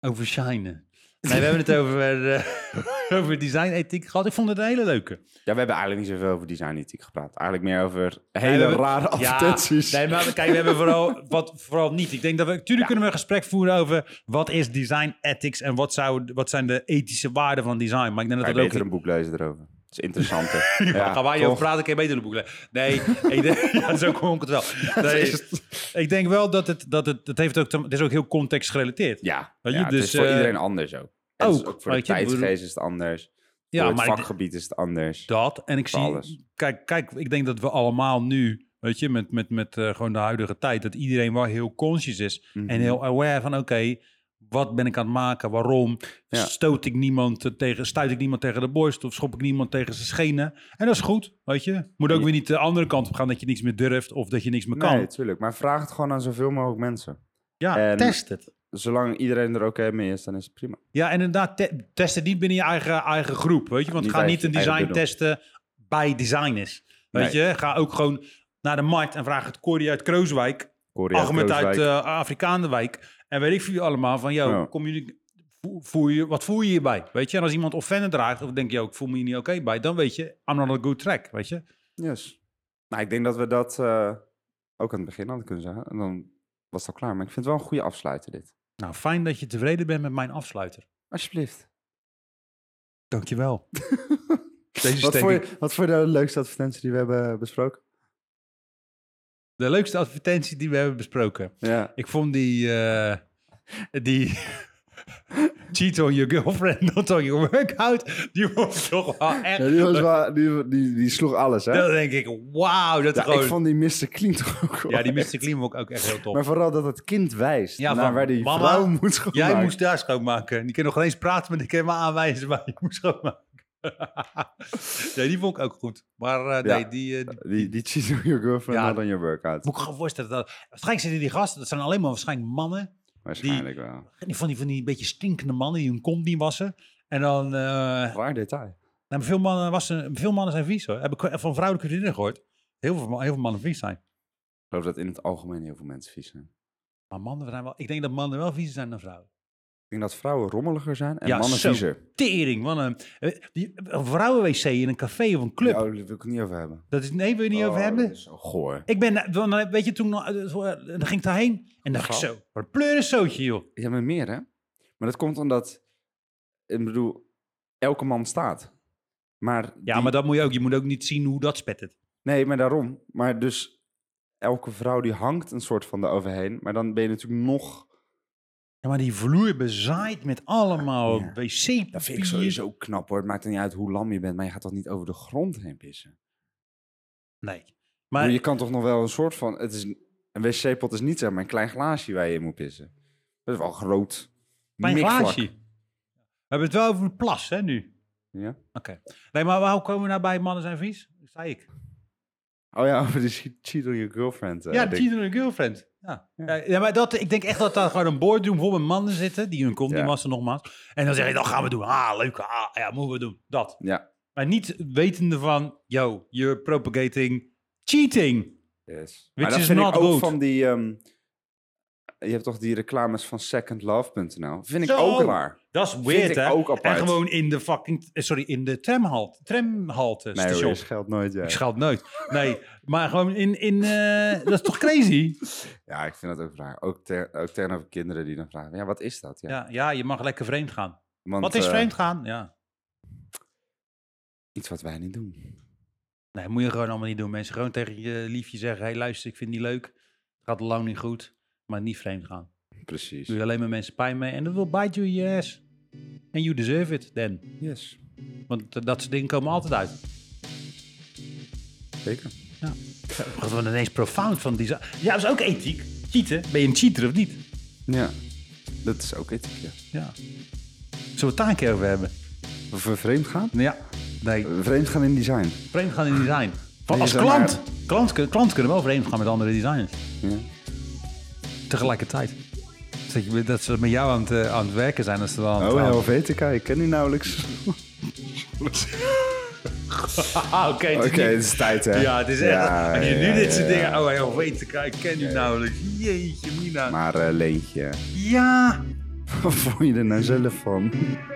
[SPEAKER 1] Over shinen. Nee, we hebben het over, eh, over designethiek gehad. Ik vond het een hele leuke.
[SPEAKER 2] Ja, we hebben eigenlijk niet zoveel over designethiek gepraat. Eigenlijk meer over hele
[SPEAKER 1] we hebben-
[SPEAKER 2] rare advertenties.
[SPEAKER 1] nee, maar kijk, we hebben vooral, wat, vooral niet. Ik denk dat we, natuurlijk kunnen we een gesprek voeren over wat is design ethics en wat, zou, wat zijn de ethische waarden van design. Maar ik denk
[SPEAKER 2] Kan
[SPEAKER 1] dat
[SPEAKER 2] je
[SPEAKER 1] dat ook
[SPEAKER 2] beter een boek lezen erover. Het is interessanter.
[SPEAKER 1] Ja, gaan wij
[SPEAKER 2] toch?
[SPEAKER 1] over praten, kan je beter de boek lezen. Nee, ik denk, ja, dat is ook gewoon wel. Nee,
[SPEAKER 2] is
[SPEAKER 1] ik denk wel dat het, dat het, het heeft ook, te- het is ook heel context gerelateerd.
[SPEAKER 2] Ja,
[SPEAKER 1] Weet je,
[SPEAKER 2] ja, het
[SPEAKER 1] dus,
[SPEAKER 2] is voor
[SPEAKER 1] eh,
[SPEAKER 2] iedereen anders ook. En het is
[SPEAKER 1] ook,
[SPEAKER 2] ook voor de
[SPEAKER 1] weet je, ik bedoel-
[SPEAKER 2] tijdsgeest is het anders.
[SPEAKER 1] Ja,
[SPEAKER 2] voor
[SPEAKER 1] maar
[SPEAKER 2] het
[SPEAKER 1] ik-
[SPEAKER 2] vakgebied is het anders.
[SPEAKER 1] Dat. En ik
[SPEAKER 2] Voor
[SPEAKER 1] zie.
[SPEAKER 2] alles.
[SPEAKER 1] Kijk, kijk, ik denk dat we allemaal nu. Weet je, met, met, met eh, gewoon de huidige tijd. Dat iedereen wel heel conscious is.
[SPEAKER 2] Mhm.
[SPEAKER 1] En heel aware van: oké, wat ben ik aan het maken? Waarom?
[SPEAKER 2] Ja.
[SPEAKER 1] Stoot ik niemand eh, tegen, stuit ik niemand tegen de borst? Of schop ik niemand tegen zijn schenen? En dat is goed, weet je. Moet ook
[SPEAKER 2] Ja.
[SPEAKER 1] weer niet de andere kant op gaan dat je niks meer durft. Of dat je niks meer kan.
[SPEAKER 2] Nee, natuurlijk. Maar vraag het gewoon aan zoveel mogelijk mensen.
[SPEAKER 1] ja,
[SPEAKER 2] en-
[SPEAKER 1] test het.
[SPEAKER 2] Zolang iedereen er oké mee is, dan is het prima.
[SPEAKER 1] Ja, en inderdaad, te- test het niet binnen je eigen, eigen groep, weet je. Want
[SPEAKER 2] Niet
[SPEAKER 1] ga
[SPEAKER 2] bij
[SPEAKER 1] niet
[SPEAKER 2] je
[SPEAKER 1] een
[SPEAKER 2] eigen
[SPEAKER 1] design
[SPEAKER 2] bedoel.
[SPEAKER 1] testen bij designers, weet je. Ga ook gewoon naar de markt en vraag het Corrie uit Krooswijk,
[SPEAKER 2] Korea,
[SPEAKER 1] Ahmed uit
[SPEAKER 2] Krooswijk.
[SPEAKER 1] eh Afrikaanderwijk en weet ik veel allemaal van, joh,
[SPEAKER 2] Ja.
[SPEAKER 1] kom jullie... voel- voel je, wat voel je hierbij? Weet je, en als iemand offended draagt, of denk je ook, ik voel me hier niet oké bij, dan weet je, I'm not on a good track, weet je.
[SPEAKER 2] Yes. Nou, ik denk dat we dat eh, ook aan het begin hadden kunnen zeggen. En dan was het al klaar. Maar ik vind het wel een goede afsluiter dit.
[SPEAKER 1] Nou, fijn dat je tevreden bent met mijn afsluiter.
[SPEAKER 2] Alsjeblieft.
[SPEAKER 1] Dankjewel. Deze
[SPEAKER 2] Wat
[SPEAKER 1] steek
[SPEAKER 2] vond,
[SPEAKER 1] ik-
[SPEAKER 2] je, wat vond je de leukste advertentie die we hebben eh, besproken?
[SPEAKER 1] De leukste advertentie die we hebben besproken.
[SPEAKER 2] Ja.
[SPEAKER 1] Ik vond die... eh, die cheat on your girlfriend, not on your workout. Die was toch wel echt...
[SPEAKER 2] die, was wel- die, die, die sloeg alles, hè?
[SPEAKER 1] Dan denk ik, wauw, dat
[SPEAKER 2] Ja,
[SPEAKER 1] gewoon...
[SPEAKER 2] ik vond die Mr. Clean toch ook wel
[SPEAKER 1] ja, die
[SPEAKER 2] echt.
[SPEAKER 1] Mr. Clean vond ik ook echt heel tof.
[SPEAKER 2] Maar vooral dat het kind wijst
[SPEAKER 1] Ja,
[SPEAKER 2] naar
[SPEAKER 1] van,
[SPEAKER 2] waar die
[SPEAKER 1] "Mama,
[SPEAKER 2] vrouw moet schoonmaken.
[SPEAKER 1] Jij moest daar schoonmaken. Die kan nog geen eens praten, maar die kan maar aanwijzen waar je moet schoonmaken. nee, die vond ik ook goed. Maar eh,
[SPEAKER 2] Ja.
[SPEAKER 1] nee, die, eh die...
[SPEAKER 2] Die, die cheat on your girlfriend,
[SPEAKER 1] Ja.
[SPEAKER 2] not on your workout.
[SPEAKER 1] Moet ik gewoon voorstellen. Dat, waarschijnlijk zitten die gasten, dat zijn alleen maar waarschijnlijk mannen.
[SPEAKER 2] Waarschijnlijk wel.
[SPEAKER 1] Die Van die, van die beetje stinkende mannen die hun kont niet wassen. En dan... eh,
[SPEAKER 2] Raar detail.
[SPEAKER 1] nou, maar veel, mannen wassen, veel mannen zijn vies hoor. Heb ik van vrouwelijke vriendinnen gehoord. Heel veel, heel veel mannen vies zijn.
[SPEAKER 2] Ik geloof dat in het algemeen heel veel mensen vies zijn.
[SPEAKER 1] Maar mannen zijn wel... Ik denk dat mannen wel viezer zijn dan vrouwen.
[SPEAKER 2] Ik denk dat vrouwen rommeliger zijn en
[SPEAKER 1] Ja,
[SPEAKER 2] mannen
[SPEAKER 1] zo.
[SPEAKER 2] viezer.
[SPEAKER 1] Tering, wat een... eh, die- Een vrouwenwc in een café of een club.
[SPEAKER 2] Ja, daar wil ik het niet over hebben.
[SPEAKER 1] Dat is... Nee, wil je niet over
[SPEAKER 2] Oh,
[SPEAKER 1] hebben?
[SPEAKER 2] dat is zo goor.
[SPEAKER 1] Ik ben, dan- weet je, toen eh, dan ging ik daarheen en dacht ik
[SPEAKER 2] Gal.
[SPEAKER 1] zo, wat een pleurenzootje, joh.
[SPEAKER 2] Ja, maar meer hè. Maar dat komt omdat, ik bedoel, elke man staat. Maar
[SPEAKER 1] Ja,
[SPEAKER 2] die-
[SPEAKER 1] maar dat moet je ook. Je moet ook niet zien hoe dat spet het.
[SPEAKER 2] Nee, maar daarom. Maar dus elke vrouw die hangt een soort van eroverheen. Maar dan ben je natuurlijk nog...
[SPEAKER 1] Ja, maar die vloer bezaaid met allemaal
[SPEAKER 2] Ja.
[SPEAKER 1] wc
[SPEAKER 2] Dat vind ik sowieso knap hoor. Het maakt er niet uit hoe lam je bent, maar je gaat toch niet over de grond heen pissen?
[SPEAKER 1] Nee.
[SPEAKER 2] Maar je
[SPEAKER 1] Maar
[SPEAKER 2] kan toch nog wel een soort van... Het is een, een wc-pot is niet zeg maar een klein glaasje waar je in moet pissen. Dat is wel groot.
[SPEAKER 1] mijn
[SPEAKER 2] mikvlak.
[SPEAKER 1] glaasje. We hebben het wel over een plas, hè, nu.
[SPEAKER 2] Ja.
[SPEAKER 1] Oké. Nee, maar waarom komen we nou bij mannen zijn vies? Dat zei ik.
[SPEAKER 2] Oh ja, over de che- cheat on your girlfriend. eh,
[SPEAKER 1] ja,
[SPEAKER 2] ding.
[SPEAKER 1] cheater en girlfriend. Ja. Ja. ja, maar dat, ik denk echt dat daar gewoon een boardroom vol met mannen zitten, die hun kont
[SPEAKER 2] Ja.
[SPEAKER 1] die massa nogmaals. En dan zeg je, dat gaan we doen. Ah, leuk. Ah, ja, moeten we doen. Dat.
[SPEAKER 2] Ja.
[SPEAKER 1] Maar niet wetende van, yo, you're propagating cheating.
[SPEAKER 2] Yes.
[SPEAKER 1] Which
[SPEAKER 2] maar dat
[SPEAKER 1] is
[SPEAKER 2] vind
[SPEAKER 1] not
[SPEAKER 2] ik ook
[SPEAKER 1] good.
[SPEAKER 2] van die... ehm, je hebt toch die reclames van secondlove.nl? Vind ik
[SPEAKER 1] Zo.
[SPEAKER 2] ook raar.
[SPEAKER 1] Dat is
[SPEAKER 2] Vind
[SPEAKER 1] weird,
[SPEAKER 2] ik
[SPEAKER 1] hè?
[SPEAKER 2] ook
[SPEAKER 1] en
[SPEAKER 2] apart.
[SPEAKER 1] gewoon in de fucking, eh, sorry, in de tramhalte, tramhalte
[SPEAKER 2] Nee hoor,
[SPEAKER 1] station.
[SPEAKER 2] je scheldt nooit, jij.
[SPEAKER 1] Ik scheld nooit. Nee, maar gewoon in, in eh, dat is toch crazy?
[SPEAKER 2] Ja, ik vind dat ook raar. Ook, ter, ook tegenover kinderen die dan vragen, ja, wat is dat? Ja.
[SPEAKER 1] Ja, ja, je mag lekker vreemd gaan.
[SPEAKER 2] Want,
[SPEAKER 1] Wat is
[SPEAKER 2] eh,
[SPEAKER 1] vreemd gaan? Ja.
[SPEAKER 2] Iets wat wij niet doen.
[SPEAKER 1] Nee, moet je gewoon allemaal niet doen, mensen. Gewoon tegen je liefje zeggen, hey, luister, ik vind het niet leuk. Het gaat lang niet goed, maar niet vreemd gaan.
[SPEAKER 2] Precies.
[SPEAKER 1] Doe je alleen maar mensen pijn mee en dat wil bite you in your ass. And you deserve it, then.
[SPEAKER 2] Yes,
[SPEAKER 1] Want eh, dat soort dingen komen altijd uit.
[SPEAKER 2] zeker.
[SPEAKER 1] Ja. Wat we ineens profound van design. Ja, dat is ook ethiek. Cheaten. Ben je een cheater of niet?
[SPEAKER 2] Ja, dat is ook ethiek, ja.
[SPEAKER 1] Ja. Zullen we het daar een keer over hebben?
[SPEAKER 2] Of we vreemd gaan?
[SPEAKER 1] Ja. Nee,
[SPEAKER 2] Vreemd gaan in design.
[SPEAKER 1] vreemd gaan in design. Van
[SPEAKER 2] Nee,
[SPEAKER 1] als
[SPEAKER 2] zeg
[SPEAKER 1] klant.
[SPEAKER 2] maar-
[SPEAKER 1] Klant, kun- klant kunnen wel vreemd gaan met andere designers.
[SPEAKER 2] Ja.
[SPEAKER 1] Tegelijkertijd. Dus Dat, je, dat ze met jou aan het, eh, aan het werken zijn. Als ze dan aan het-
[SPEAKER 2] Oh ja, of ETK, ik ken die nauwelijks.
[SPEAKER 1] Ah, oké. het is
[SPEAKER 2] Oké,
[SPEAKER 1] niet-
[SPEAKER 2] het is tijd, hè?
[SPEAKER 1] Ja, het is echt...
[SPEAKER 2] Ja,
[SPEAKER 1] als je nu
[SPEAKER 2] ja,
[SPEAKER 1] dit soort
[SPEAKER 2] ja,
[SPEAKER 1] dingen...
[SPEAKER 2] ja.
[SPEAKER 1] Oh, hij al weet ik. Ik ken die nauwelijks. Jeetje, Mina.
[SPEAKER 2] Maar eh, Leentje,
[SPEAKER 1] Ja.
[SPEAKER 2] wat vond je er nou zelf van?